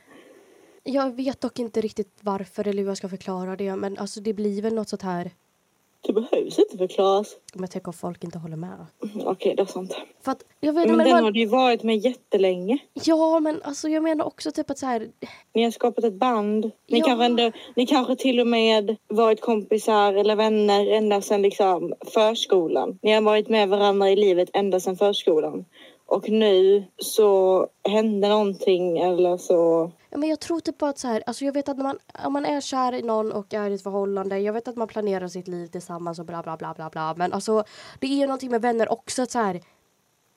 Jag vet dock inte riktigt varför eller hur jag ska förklara det. Men alltså det blir väl något sånt här...
Det behövs inte förklaras.
Men tänk om folk inte håller med.
Mm, Okej, det är sant.
För att, jag vet,
Men,
men
den
man,
har det ju varit med jättelänge.
Ja, men alltså jag menar också typ att så här...
Ni har skapat ett band. Ni,
Ja.
kanske, ändå, ni kanske till och med varit kompisar eller vänner ända sedan liksom förskolan. Ni har varit med varandra i livet ända sedan förskolan. Och nu så hände någonting eller så...
Ja, men jag tror typ bara att så här, alltså jag vet att när man, om man är kär i någon och är i ett förhållande, jag vet att man planerar sitt liv tillsammans och bla bla bla bla bla. Men alltså det är ju någonting med vänner också att så här,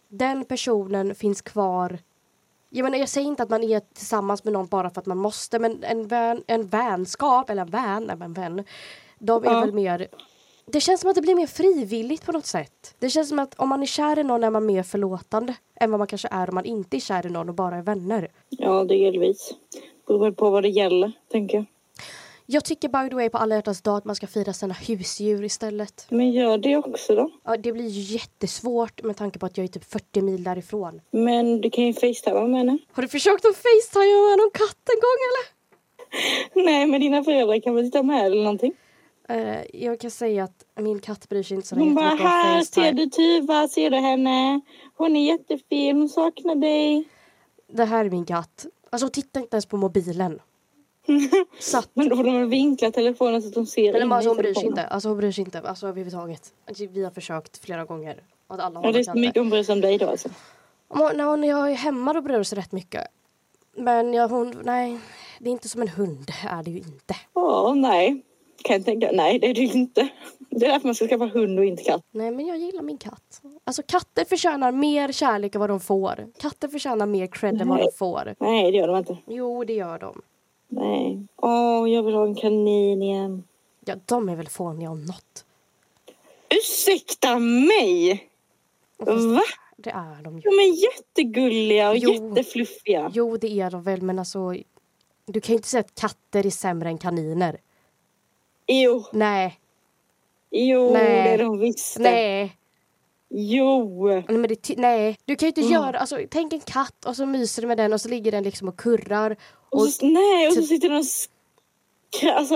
den personen finns kvar. Jag menar jag säger inte att man är tillsammans med någon bara för att man måste, men en, vän, en vänskap eller en vän, nej, men en vän, de är
Ja.
väl mer det känns som att det blir mer frivilligt på något sätt. Det känns som att om man är kär i någon är man mer förlåtande än vad man kanske är om man inte är kär i någon och bara är vänner.
Ja, delvis. Beror väl på vad det gäller, tänker jag.
Jag tycker by the way på alla hjärtans dag att man ska fira sina husdjur istället.
Men gör det också då.
Ja, det blir ju jättesvårt med tanke på att jag är typ 40 mil därifrån.
Men du kan ju facetima med henne.
Har du försökt att facetima med någon katt en gång eller?
Nej, men dina föräldrar kan väl sitta med eller någonting.
Eh, jag kan säga att min katt bryr sig inte så
Hon bara,
jättemycket om
här ser
facetime.
du Tuva, ser du henne? Hon är jättefin, hon saknar dig.
Det här är min katt. Alltså hon tittar inte ens på mobilen. så att,
Men då får de väl vinkla telefonen så att de ser
eller
in
bara,
i
alltså, hon bryr sig
telefonen.
inte. Alltså hon bryr sig inte. Alltså överhuvudtaget. Vi har försökt flera gånger. Åt alla
Ja,
håll
det är
och
så
kanter.
mycket hon bryr sig om dig då alltså.
Om hon- När hon, jag är hemma då bryr hon sig rätt mycket. Men jag, hon, nej, det är inte som en hund är det ju inte.
Ja, nej. Kan jag tänka. Nej, det är det ju inte. Det är därför man ska skaffa hund och inte katt.
Nej men jag gillar min katt. Alltså katter förtjänar mer kärlek än vad de får. Katter förtjänar mer cred än vad de får.
Nej, det gör de inte.
Jo det gör de.
Nej. Åh, jag vill ha en kanin igen.
Ja de är väl fåniga om något.
Ursäkta mig! Va?
Det är de ju.
De är jättegulliga och
Jo.
jättefluffiga.
Jo det är de väl men alltså. Du kan ju inte säga att katter är sämre än kaniner.
Jo,
Nej.
jo,
Nej.
det är de visst.
Nej.
Jo.
Nej, men det, ty- nej. Du kan ju inte
Mm.
göra, alltså tänk en katt och så myser du med den och så ligger den liksom och kurrar.
Och
Och,
så, nej, och så
typ-
sitter de och skra- alltså,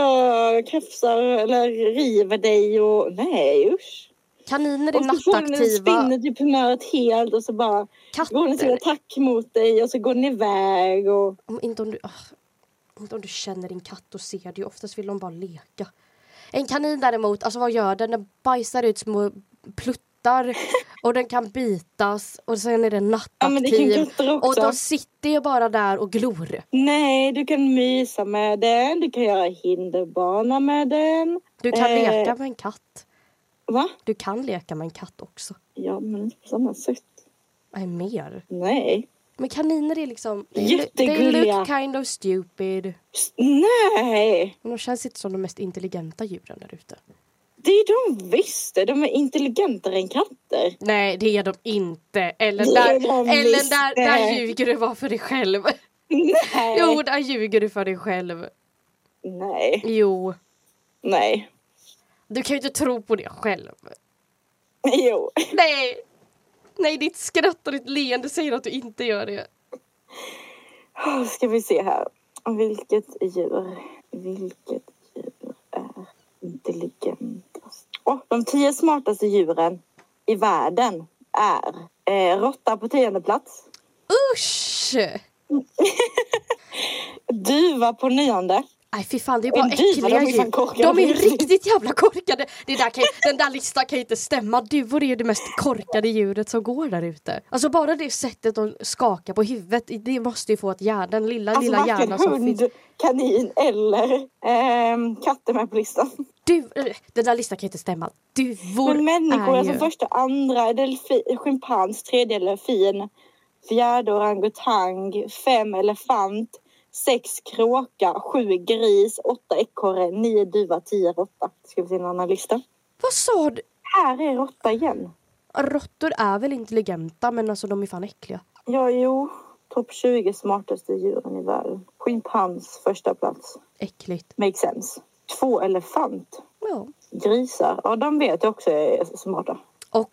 krafsar eller river dig och nej usch.
kaniner är
Och så får den en
nattaktiva.
spinner typ humöret helt och så bara går den till
Katter
attack mot dig och så går den iväg och
Om, inte, om du, ah, inte om du känner din katt och ser det. Oftast vill de bara leka. En kanin däremot, alltså vad gör den? Den bajsar ut små pluttar och den kan bitas och sen är den
ja men det kan
nattaktiv.
katter
och
också.
de sitter ju bara där och glor.
Nej, du kan mysa med den, du kan göra hinderbana med den.
Du kan
Eh.
leka med en katt.
Va?
Du kan leka med en katt också.
Ja, men inte på samma sätt.
Nej, mer.
Nej.
Men kaniner är liksom... they- They
Jättegulliga.
look kind of stupid.
Psst, Nej!
Men de känns inte som de mest intelligenta djuren där ute.
Det är de visst! De är intelligentare än katter.
Nej, det är de inte. Eller
Det
där,
är de
eller
visst
där, där
det.
ljuger du bara för dig själv.
Nej.
Jo, där ljuger du för dig själv.
Nej.
Jo,
Nej.
du kan ju inte tro på det själv.
Jo.
Nej! Nej, ditt skratt och ditt leende säger att du inte gör det.
Åh, Oh, Ska vi se här. Vilket djur, vilket djur är intelligentast? Åh, de tio smartaste djuren i världen är eh, råtta på tionde plats,
Usch!
duva på nionde.
Nej, fy fan, det är bara
Men du, vad de
äckliga
är fan
djur.
korkade.
De är riktigt jävla korkade. Det där kan, den där listan kan ju inte stämma. Duvor är ju det mest korkade djuret som går där ute. Alltså bara det sättet de skakar på huvudet, det måste ju få att hjärnan, den lilla,
Alltså
lilla
varken
hjärnan som finns.
hund, kanin eller ehm, katter med på listan.
Du, eh, den där listan kan ju inte stämma. Duvor
Men människor alltså,
är
är som
ju...
första, andra, delfin, schimpans, tredje delfin, fjärde orangutang, fem elefant, sex kråka, sju gris, åtta ekorre, nio duva, tio råtta. Ska vi se en annan lista.
Vad sa du?
Här är råtta igen.
Råttor är väl intelligenta men alltså de är fan äckliga.
Ja, jo. Topp 20 smartaste djuren i världen. Schimpans första plats.
Äckligt.
Makes sense. Två elefant.
Ja.
Grisar. Ja, de vet jag också är smarta.
Och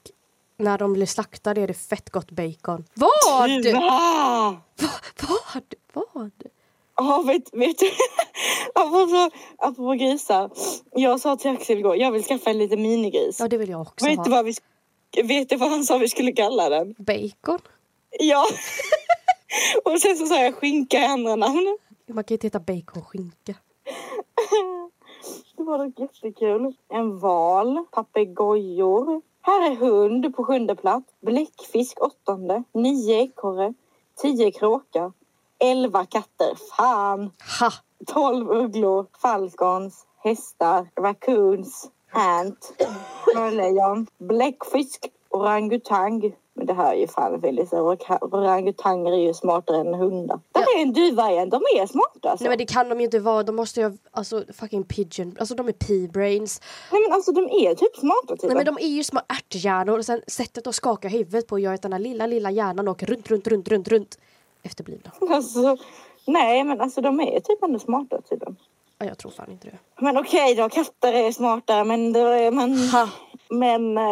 när de blir slaktade är det fett gott bacon. Vad?
Ah!
Vad? Vad?
Ja, vet, vet du? apropå, apropå grisar. Jag sa till Axel igår, jag vill skaffa en liten minigris.
Ja, det vill jag också
vet,
ha.
du vad vi, sk- vet du vad han sa vi skulle kalla den?
Bacon?
Ja. Och sen så sa jag skinka i andra namn.
Man kan ju inte heta baconskinka.
Det var dock jättekul. En val, papegojor. Här är hund på sjunde plats. Bläckfisk åttonde. Nio ekorre. Tio kråkor. Elva katter. Fan!
Ha!
Tolv ugglor. Falcons. Hästar. Raccoons. Ant. Sjölejon. Bläckfisk. Orangutang. Men det här är ju fan väldigt så. oranga- Orangutanger är ju smartare än hundar. Där är en duva igen. De är smarta alltså.
Nej men det kan de ju inte vara. De måste ju ha, alltså fucking pigeon. Alltså de är pea-brains.
Nej men alltså de är typ smarta typ.
Nej men de är ju små ärthjärnor och sen sättet att skaka huvudet på gör att den här lilla, lilla hjärnan åker runt, runt, runt, runt, runt. Efterblivna.
Alltså, nej, men alltså de är typ ändå smarta tydligen.
Ja, jag tror fan inte det.
Men okej då, katter är smarta, men, då är man,
Ha!
men eh,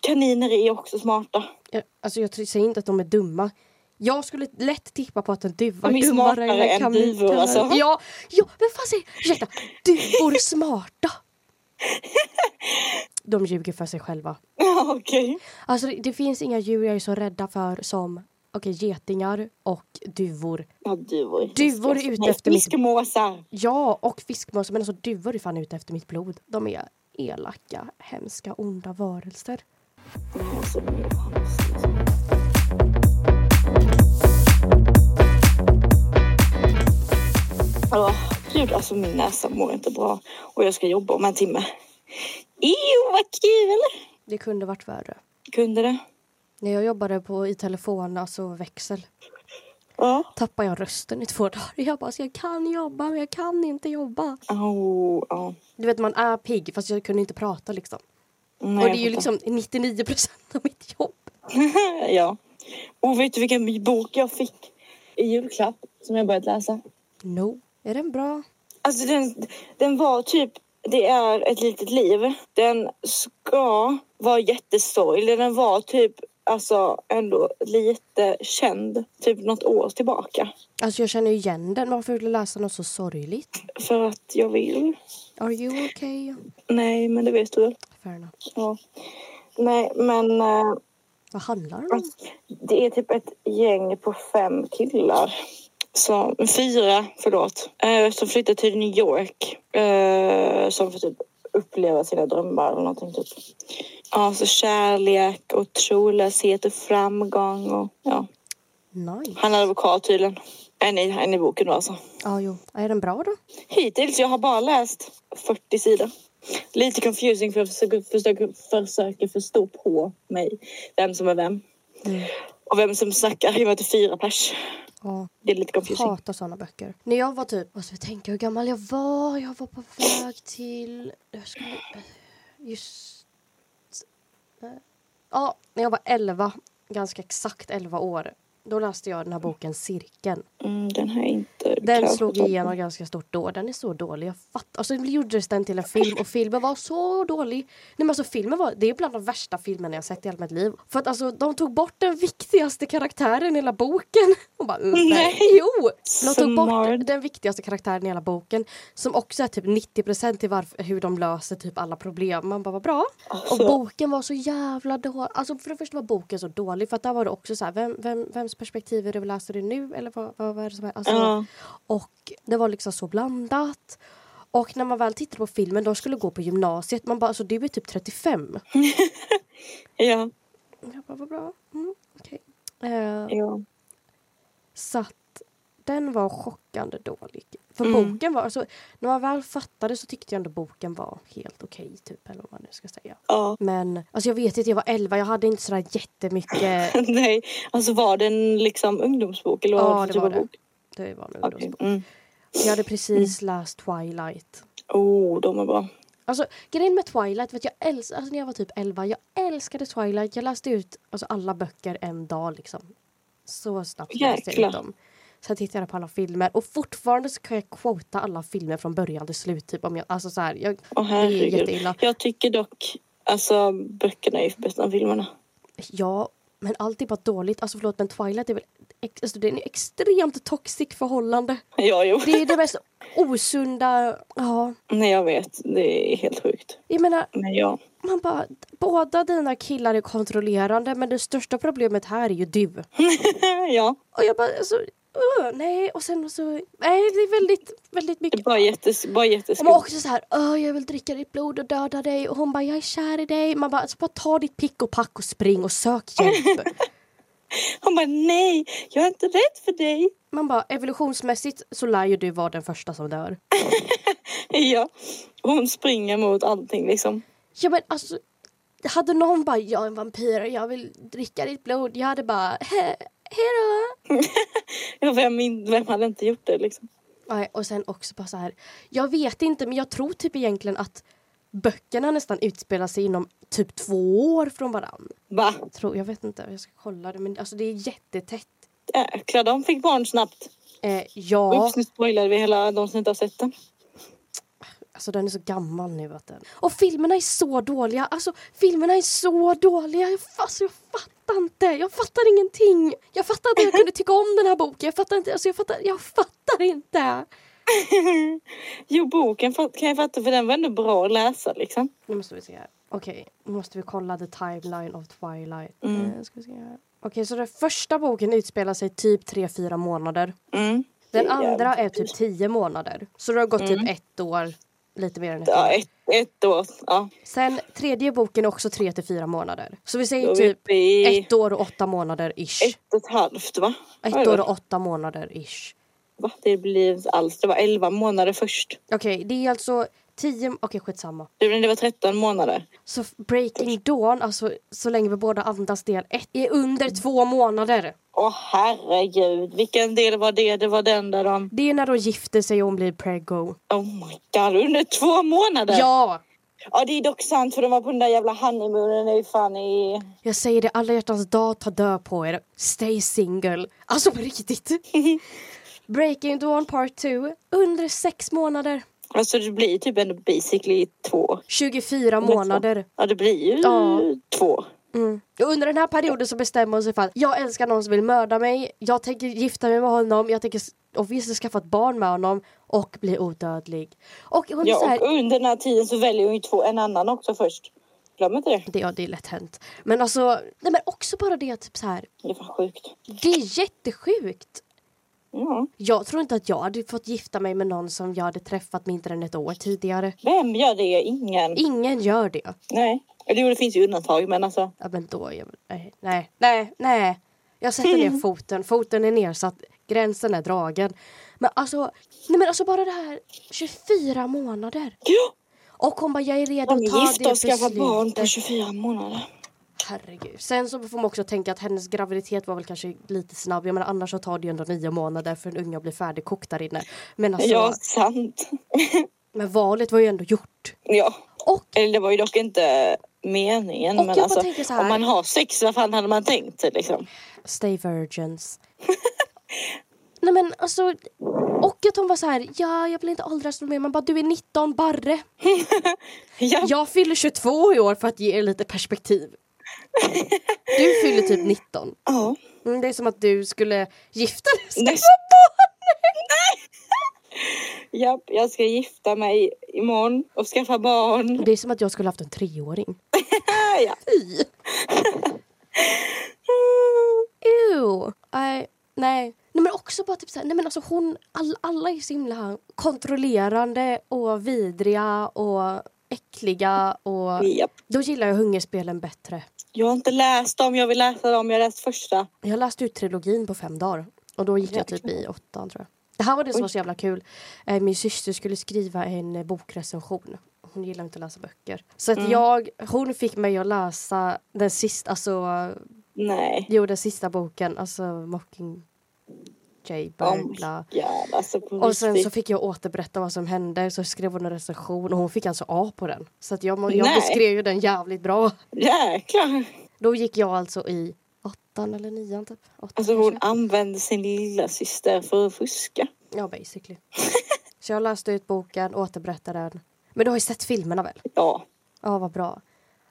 kaniner är också smarta.
Jag, alltså jag tror- säger inte att de är dumma. Jag skulle lätt tippa på att en duva
De är smartare än
kamin-
duvor,
kamin-
alltså.
Ja, ja, vem fan säger... Ursäkta, duvor smarta. De ljuger för sig själva.
Ja, okej.
Alltså det, det finns inga djur jag är så rädda för som okej, getingar och duvor.
Ja, duvor. är
Duvor är
fiskar.
ute
Nej,
efter mitt-
Fiskmåsar.
Ja, och fiskmåsar. Men alltså duvor är fan ute efter mitt blod. De är elaka, hemska, onda varelser.
Nej, alltså, de är fan hemska. Åh, gud, alltså min näsa mår inte bra och jag ska jobba om en timme. Ew, vad kul!
Det kunde varit värre.
Kunde det?
När jag jobbade på i telefon, alltså växel,
Ja.
tappade jag rösten i två dagar. Jag bara, så jag kan jobba men jag kan inte jobba.
Oh, ja.
Du vet man är pigg fast jag kunde inte prata liksom.
Nej,
och det är
jag
ju
fattar.
liksom 99 procent av mitt jobb.
ja. Och vet du vilken bok jag fick i julklapp som jag börjat läsa?
No. Är den bra?
Alltså den, den var typ... Det är ett litet liv. Den ska vara jättesorglig. Den var typ alltså ändå lite känd, typ något år tillbaka.
Alltså jag känner ju igen den. Varför vill du läsa något så sorgligt?
För att jag vill.
Are you okay?
Nej, men det vet du väl?
Fair enough.
Ja. Nej, men eh,
Vad handlar den om?
Alltså, Det är typ ett gäng på fem killar. Som, fyra, förlåt. Eh, som flyttar till New York. Eh, som får typ uppleva sina drömmar eller någonting typ. Ja, så kärlek och trolöshet och framgång och ja.
Nice.
Han är advokat tydligen. En i, en i boken då alltså.
Ja, jo. Är den bra då?
Hittills, jag har bara läst 40 sidor. Lite confusing för jag försöker, försöker, försöker förstå på mig vem som är vem.
Mm.
Och vem som snackar i och med att det är fyra pers.
Ja.
Det är lite confusing.
Hatar såna böcker. När jag var typ, alltså jag tänker hur gammal jag var, jag var på väg till, jag skulle, eh, just, eh, ja, när jag var 11, ganska exakt 11 år, då läste jag den här boken Cirkeln.
Mm, den här är inte...
Den
kanske
slog
toppen.
igenom ganska stort då, den är så dålig, jag fattar. Och så gjordes den till en film och filmen var så dålig. Nej men alltså filmen var, det är bland de värsta filmerna jag sett i hela mitt liv. För att alltså de tog bort den viktigaste karaktären i hela boken. Och bara, mm, nej.
Nej.
Jo! De tog bort
Smart.
den viktigaste karaktären i hela boken som också är typ 90% till varför, hur de löser typ alla problem. Man bara vad bra. Och
Alltså.
boken var så jävla dålig. Alltså för det första var boken så dålig för att där var det också så här vem, vem, vems perspektiv är det vi läser det nu eller vad, vad, vad är det som är? Alltså,
Ja.
Och det var liksom så blandat. Och när man väl tittar på filmen, de skulle gå på gymnasiet. Man bara alltså du är typ 35.
Ja,
Jag bara vad bra. Mm, okej. Eh,
ja.
Så att den var chockande dålig. För
Mm.
boken var, alltså, när man väl fattade så tyckte jag ändå boken var helt okej typ eller vad man nu ska säga.
ja.
Men alltså jag vet inte, jag var 11, jag hade inte sådär jättemycket.
Nej, alltså var den liksom ungdomsbok? Eller vad
Ja,
var det
det
för typ
var det.
av bok?
Det var en
Okej.
ungdomsbok.
Mm.
Jag hade precis läst Twilight.
Oh, de är bra.
Alltså grejen med Twilight, vet jag älsk- alltså, när jag var typ 11, jag älskade Twilight. Jag läste ut alltså, alla böcker en dag liksom. Så snabbt läste jag
Jäklar.
ut dem. Sen tittade jag på alla filmer och fortfarande så kan jag quota alla filmer från början till slut. Typ, om jag, alltså så här, jag,
Åh
det är ju
herregud.
jätteilla.
Jag tycker dock, alltså böckerna är ju bättre än filmerna.
Ja, men allt är bara dåligt. Alltså förlåt, men Twilight är väl ex, alltså, det är en extremt toxic förhållande.
Ja, jo.
Det är det mest osunda. Ja,
Nej, jag vet. Det är helt sjukt.
jag menar,
Men ja.
man bara, båda dina killar är kontrollerande men det största problemet här är ju du.
ja,
Och jag bara, alltså, öh, nej. Och sen så, nej, det är väldigt, väldigt
det är
mycket.
bara, jättes, bara
Och man
jätteskumt.
också så här, öh, jag vill dricka ditt blod och döda dig. Och hon bara, jag är kär i dig. Man bara, alltså, bara ta ditt pick och pack och spring och sök hjälp.
Han bara nej, jag är inte rädd för dig.
Man bara, evolutionsmässigt så lär ju du vara den första som dör.
Ja, hon springer mot allting liksom.
Ja men alltså, hade någon bara, jag är en vampyr och jag vill dricka ditt blod. Jag hade bara, "He- hejdå.
Ja, vem, in- vem hade inte gjort det liksom?
Nej, och sen också bara så här. Jag vet inte, men jag tror typ egentligen att böckerna nästan utspelar sig inom typ två år från varann.
Va?
Tror, jag vet inte, jag ska kolla det, men alltså det är jättetätt.
Jäklar, de fick barn snabbt.
Eh,
Ja.
ja,
Oops, nu spoilade vi hela de som inte har sett den.
alltså den är så gammal nu att den. Och filmerna är så dåliga, alltså filmerna är så dåliga. Jag, fa- alltså, jag fattar inte, jag fattar ingenting. Jag fattar inte att jag kunde tycka om den här boken, jag fattar inte, alltså jag fattar, jag fattar inte.
Jo, boken fatt- kan jag fatta för den var ändå bra att läsa liksom.
Nu måste vi se här. Okej, nu måste vi kolla the timeline of Twilight.
Mm.
Eh, ska vi se här. Okej, så den första boken utspelar sig typ 3-4 månader.
Mm.
Den
Det är
andra är
jävligt
typ 10 månader. Så det har gått
Mm.
typ ett år. Lite mer än ett
Ja,
år.
ett, ett år. Ja.
Sen tredje boken är också 3-4 månader. Så vi
Då
säger
är vi
typ
uppe i
ett år och åtta månader ish.
ett och ett halvt va?
Ett år och åtta månader ish.
Va? Det blir inte alls. Det var elva månader först.
Okej, det är alltså 10... Okej, skitsamma.
Det var- det var tretton månader.
Så Breaking Dawn, alltså så länge vi båda andas del ett, är under två månader.
Åh herregud, vilken del var det? Det var den där de...
Det är när de gifter sig och hon blir preggo.
Oh my god, under två månader!
Ja!
Ja, det är dock sant för de var på den där jävla honeymoonen i fan i...
Jag säger det, alla hjärtans dag tar död på er. Stay single. Alltså på riktigt. Breaking Dawn Part 2, under sex månader.
Alltså det blir typ ändå basically två. Liksom.
24 månader.
Ja, det blir ju
Ja.
två.
Mm. Och Under den här perioden så bestämmer hon sig för att jag älskar någon som vill mörda mig, jag tänker gifta mig med honom, jag tänker s- obviously skaffa ett barn med honom och bli odödlig. Och hon är så
Ja,
här,
och under den här tiden så väljer hon ju två, en annan också först. Glöm inte det.
det, ja, det är lätt hänt. Men alltså, nej men också bara det typ så här,
Det är fan sjukt.
det är jättesjukt.
Ja.
Jag tror inte att jag hade fått gifta mig med någon som jag hade träffat mindre än ett år tidigare.
Vem gör det? Ingen.
Ingen gör det.
Nej. Eller jo, det finns ju undantag, men alltså.
Ja, men då... är Jag, nej, nej, nej, nej. Jag sätter ner foten. Foten är nedsatt. Gränsen är dragen. Men alltså, nej men alltså bara det här 24 månader.
Ja,
Och hon bara, jag är redo
de
att ta
är gifta
det
och skaffar barn på
beslutet.
24 månader.
Herregud. Sen så får man också tänka att hennes graviditet var väl kanske lite snabb. Jag menar annars så tar det ju ändå nio månader för en unge att bli färdigkokt där inne. Men alltså,
Ja, sant.
men valet var ju ändå gjort.
Ja.
Och
Eller det var ju dock inte meningen.
Och jag
men
bara
alltså,
tänker så här-
om man har sex, vad fan hade man tänkt sig liksom?
Stay virgins. Nej men alltså, och att hon var så här, ja jag vill inte åldras mer. Man bara, du är 19 barre.
Ja,
Jag fyller 22 i år för att ge er lite perspektiv. Du fyller typ 19.
ja.
Mm, det är som att du skulle gifta dig. och skaffa
Näst-
barn.
Japp, jag ska gifta mig imorgon och skaffa barn.
Det är som att jag skulle haft en treåring.
Ah, ja.
Fy! Ew. Nej, nej. Nej men också bara typ såhär, nej men alltså hon, all, alla är så himla kontrollerande och vidriga och äckliga och
Japp.
då gillar jag hungerspelen bättre.
Jag har inte läst dem, jag vill läsa dem. Jag har läst första.
Jag läste ut trilogin på fem dagar och då gick jag typ i åttan tror jag. Det här var det som var så jävla kul. Eh, Min syster skulle skriva en eh, bokrecension. Hon gillar inte att läsa böcker. Så att jag, hon fick mig att läsa den sista, alltså
Nej.
Jo, den sista boken, alltså Mocking
Oh my
Jaybird. bla.
god, alltså på
och sen så
riktigt.
fick jag återberätta vad som hände, så skrev hon en recension och hon fick alltså A på den. Så att jag, må- jag
Nej.
beskrev ju den jävligt bra.
Jäklar.
Då gick jag alltså i åttan. åttan eller nian typ. Åttan
Alltså hon
kanske.
använde sin lilla syster för att fuska.
Ja, basically. så jag läste ut boken, återberättade den. Men du har ju sett filmerna väl?
Ja.
Ja, vad bra.
Alltså,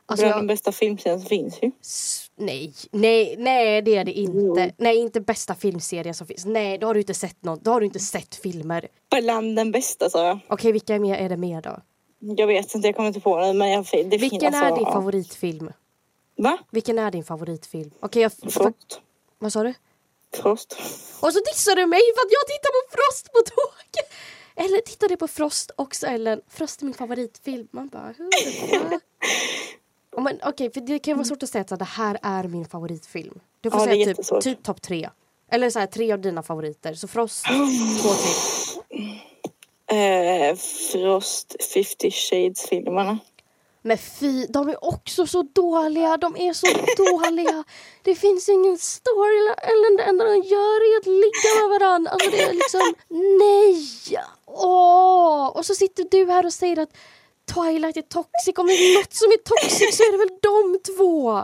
Alltså,
Den
jag...
bästa filmserien som finns ju.
S- Nej, nej, nej det är det inte.
Jo.
Nej, inte bästa filmserien som finns. Nej, då har du inte sett något. Då har du inte sett filmer.
Bland den bästa sa jag.
Okej, vilka är mer är det mer då?
Jag vet inte, jag kommer inte på den. Men jag, det finns-
Vilken är
alltså,
din
ja.
favoritfilm?
Va?
Vilken är din favoritfilm? Okej, jag... fa-
Frost.
Vad sa du?
Frost.
Och så dissar du mig för att jag tittar på Frost på tåget! Eller tittade på Frost också Ellen. Frost är min favoritfilm. Man bara hur? Ja, men Okej, för det kan ju vara svårt att säga att så här, det här är min favoritfilm. Du får
Mm. Ja, det är
säga typ,
jättesvårt.
typ topp tre. Eller så här, tre av dina favoriter. Så Frost,
Oh
två till.
Eh, Frost 50 Shades-filmerna.
Men fy, de är också så dåliga. De är så dåliga. Det finns ingen story. Ellen, det enda de gör är att ligga med varandra. Alltså det är liksom, nej! Åh! Och så sitter du här och säger att Twilight är toxic. Om det är något som är toxic så är det väl de två!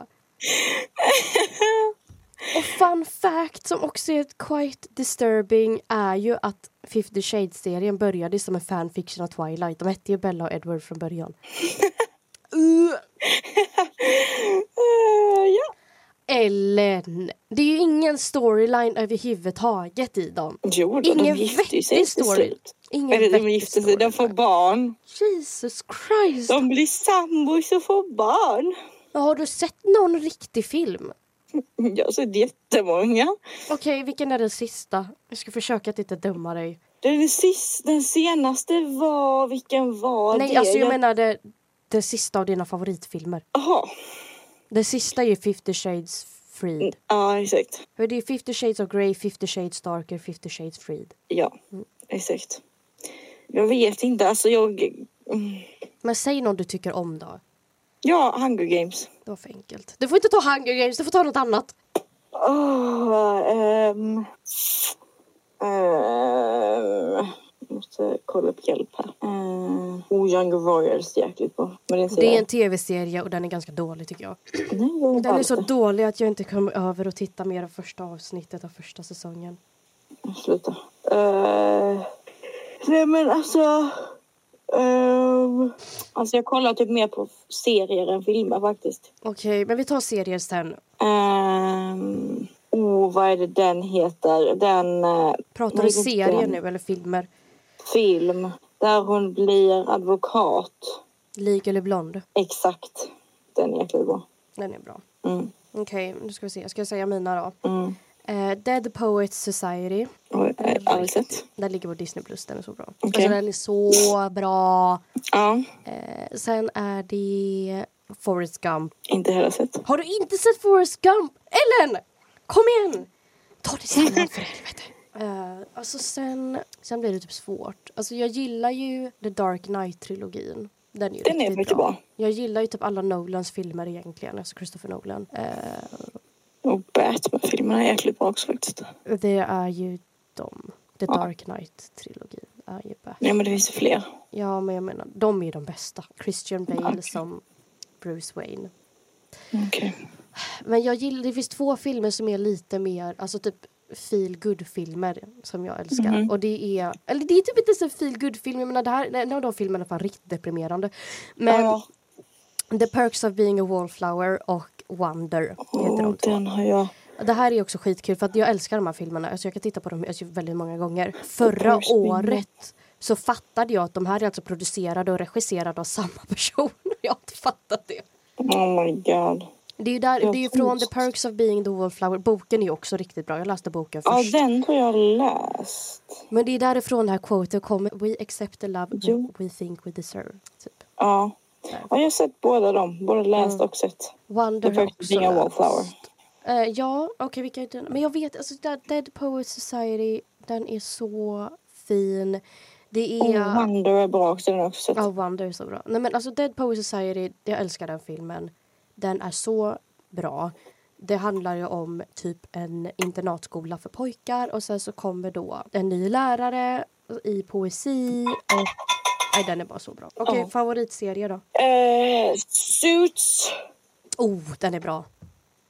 Och fun fact som också är quite disturbing är ju att 50 Shades-serien började som en fanfiction av Twilight. De hette ju Bella och Edward från början. Uh,
Eh, ja.
Ellen! Det är ju ingen storyline överhuvudtaget i dem.
Jo, då,
Ingen
de gifter ju sig
vettig
till
story.
slut.
Ingen
Eller de
vettig
gifter sig, de får
storyline.
barn.
Jesus Christ!
De blir sambos och får barn.
Har du sett någon riktig film?
Jag har sett jättemånga.
Okej, vilken är den sista? Jag ska försöka att inte döma dig.
Den, sist, den senaste var... Vilken var
Nej,
det?
alltså jag menade den sista av dina favoritfilmer.
Jaha.
Den sista är ju 50 Shades
Mm.
Freed.
Ja, exakt.
För Det är 50 Shades of Grey, 50 Shades Darker, 50 Shades Freed.
Ja, exakt. Jag vet inte. Alltså, jag... mm.
Men säg någon du tycker om då.
Ja, Hunger Games.
Det var för enkelt. Du får inte ta Hunger Games, du får ta något annat.
Åh, ehm. Ehm, jag måste kolla upp hjälp här. Uh, oh, Young Royals är jäkligt bra. Men det
Det är
ser
en tv-serie och den är ganska dålig tycker jag.
jag. Nej, jag
Den är
har
så
inte.
dålig att jag inte kom över och titta mer av första avsnittet av första säsongen.
Sluta. Eh, nej, men alltså... ehm, alltså jag kollar typ mer på serier än filmer faktiskt.
Okej, men vi tar serier sen.
Um, oh, vad är det den heter? Den eh,
Pratar
Nej,
du
det är
serier
inte-
nu eller filmer?
film där hon blir advokat.
Lik eller blond?
Exakt. Den är jäkligt bra.
Den är bra.
Mm,
Okej, nu ska vi se. Ska jag säga mina då?
mm. Äh,
Eh, Dead Poets Society.
Oj, jag har aldrig sett.
Den ligger på Disney+. Plus, Den är så bra.
Okej.
Alltså, den är så bra.
Ja,
Eh, sen är det Forrest Gump.
inte heller sett.
Har du inte sett Forrest Gump? Ellen! Kom igen! Ta det samman för helvete. Eh, alltså sen, sen blir det typ svårt. Alltså jag gillar ju The Dark Knight-trilogin. Den är ju
Den är
riktigt
mycket bra.
Jag gillar ju typ alla Nolans filmer egentligen, alltså Christopher Nolan. Eh,
Och Batman-filmerna är jäkligt bra också faktiskt.
det är ju de. The Dark Knight-trilogin är ju bäst.
Nej, men det finns fler.
Ja, men jag menar, de är ju de bästa. Christian Bale
Okej.
som Bruce Wayne.
Okej.
Men jag gillar, det finns två filmer som är lite mer, alltså typ feel good filmer som jag älskar.
Mhm.
Och det är, eller det är typ inte ens en feel good film jag menar det här, en av de filmerna var riktigt deprimerande. Men
Ja,
The Perks of Being a Wallflower och Wonder heter
och
de två.
den har jag.
Det här är också skitkul för att jag älskar de här filmerna. Alltså jag kan titta på dem alltså väldigt många gånger. Förra
Perks of Being a-
året så fattade jag att de här är alltså producerade och regisserade av samma person. Jag har inte fattat det.
Oh my god.
Det är ju, där, det
Ja,
är ju från The
schysst.
Perks of Being the Wallflower. Boken är ju också riktigt bra. Jag läste boken
Ja,
först.
den har jag läst.
Men det är därifrån det här quotet kommer. We accept the love
Jo.
we think we deserve. Typ.
Ja. ja, jag har sett båda dem. Både läst och sett.
Wonder
The
har jag
Perks of
också
Being a
läst.
Wallflower.
Eh, ja, okej vilka är den? Men jag vet, alltså Dead, Dead Poets Society, den är så fin. Det är...
Och Oh, Wonder är bra också. Den har jag också
Ja,
sett.
Oh, Wonder är så bra. Nej, men alltså Dead Poets Society, jag älskar den filmen. Den är så bra. Det handlar ju om typ en internatskola för pojkar och sen så kommer då en ny lärare i poesi och... Nej, den är bara så bra. Okej,
Ja.
favoritserie då?
Eh, suits.
Oh, den är bra.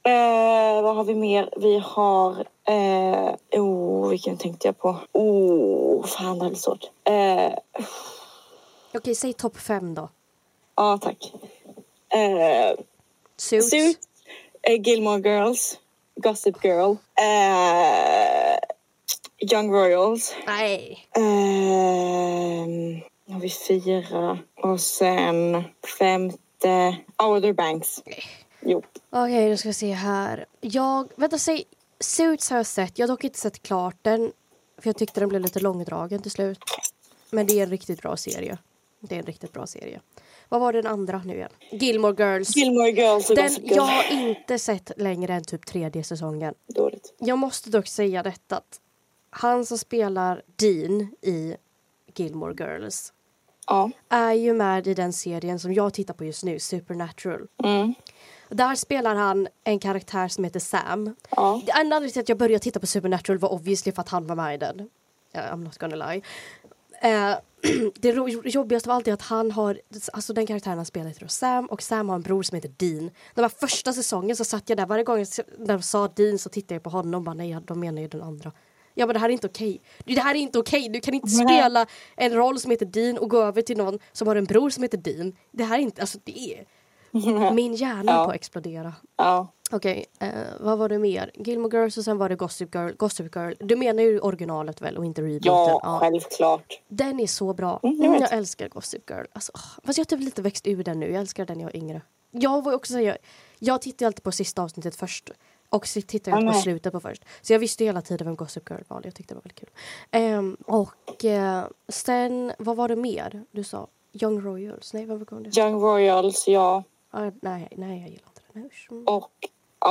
Eh, vad har vi mer? Vi har... Eh, oh, vilken tänkte jag på? Oh, fan, det är svårt. Eh,
Okej, säg topp fem då.
ja, tack. Eh,
Suits.
Suit, eh, Gilmore Girls, Gossip Girl, eh, Young Royals.
Nej.
Ehm, har vi fyra. Och sen femte... Outer Banks. Jo.
Okej, då ska vi se här. Jag, vänta, säg Suits har jag sett. Jag har dock inte sett klart den. För jag tyckte den blev lite långdragen till slut. Men det är en riktigt bra serie. Det är en riktigt bra serie. Vad var den andra nu igen? Gilmore Girls.
Gilmore Girls och
den
Gossip Girl.
jag har inte sett längre än typ tredje säsongen.
Dåligt.
Jag måste dock säga detta att han som spelar Dean i Gilmore Girls
Ja.
är ju med i den serien som jag tittar på just nu, Supernatural.
Mm.
Där spelar han en karaktär som heter Sam.
Ja.
Det enda anledningen till att jag började titta på Supernatural var obviously för att han var med i den. Ja, I'm not gonna lie. Eh, det ro- jobbigaste av allt är att han har, alltså den karaktären han spelar heter då Sam och Sam har en bror som heter Dean. Den här första säsongen så satt jag där, varje gång jag, se- när de sa Dean så tittade jag på honom och bara nej, de menar ju den andra. Ja men det här är inte okej. Det här är inte okej. Du kan inte spela en roll som heter Dean och gå över till någon som har en bror som heter Dean. Det här är inte, alltså det är... Min hjärna är
Ja.
på att explodera.
Ja.
Okej, eh, vad var det mer? Gilmore Girls och sen var det Gossip Girl. Gossip Girl. Du menar ju originalet väl och inte rebooten?
Ja,
Ja.
självklart.
Den är så bra.
Mm, jag vet.
jag älskar Gossip Girl. Alltså, åh, fast jag har typ lite växt ur den nu. Jag älskar den när jag var yngre. Jag var också säga, jag tittar ju alltid på sista avsnittet först. Och så tittar jag
Ja,
inte på
nej.
slutet på först. Så jag visste ju hela tiden vem Gossip Girl var. Jag tyckte det var väldigt kul. Ehm, och eh, sen, vad var det mer du sa? Young Royals? Nej, vad var det?
Young Royals, ja.
Ah, nej, nej, jag gillar inte den. Nej, usch. Mm.
Och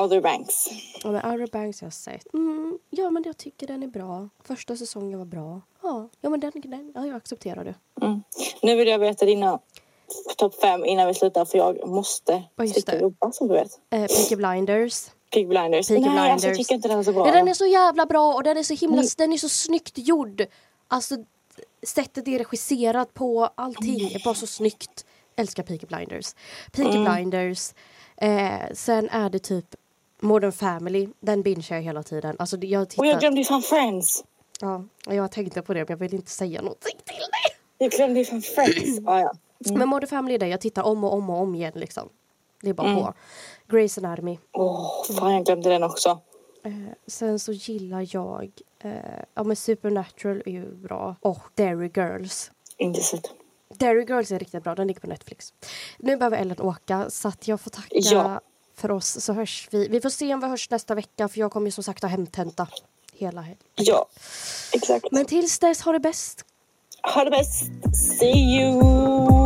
Outer Banks.
Ja, men Outer Banks har jag sett. Mm, ja, men jag tycker den är bra. Första säsongen var bra. Ja, ja men den, den ja, jag accepterar det.
Mm. Nu vill jag veta dina topp fem innan vi slutar för jag måste
Ja, just
sticka
det.
och jobba som du vet.
Eh, Peaky Blinders.
Peaky Blinders.
Peaky
Nej, alltså, jag
Blinders.
tycker inte den är så bra.
Ja, den är så jävla bra och den är så himla,
Mm.
den är så snyggt gjord. Alltså sättet det är regisserat på, allting är bara så snyggt. Älskar Peaky Blinders. Peaky
Mm.
Blinders. Eh, sen är det typ Modern Family. Den bingear jag hela tiden. Alltså det- jag
Och jag
tittar.
glömde ju fan Friends.
Ja, jag tänkte på det men jag vill inte säga någonting till dig.
Jag glömde ju fan Friends. Ah, ja.
Men Modern Family är det jag tittar om och om och om igen liksom. Det är bara på. Grey's Anatomy.
Åh, fan jag glömde den också.
Eh, sen så gillar jag, eh, ja men Supernatural är ju bra och Dairy Girls.
Inte sett.
Dairy Girls är riktigt bra, den ligger på Netflix. Nu behöver Ellen åka så att jag får tacka
Ja.
för oss så hörs vi. Vi får se om vi hörs nästa vecka för jag kommer ju som sagt ha hemtenta hela helgen.
Ja, exakt.
Men tills dess, ha det bäst!
Ha det bäst. See you!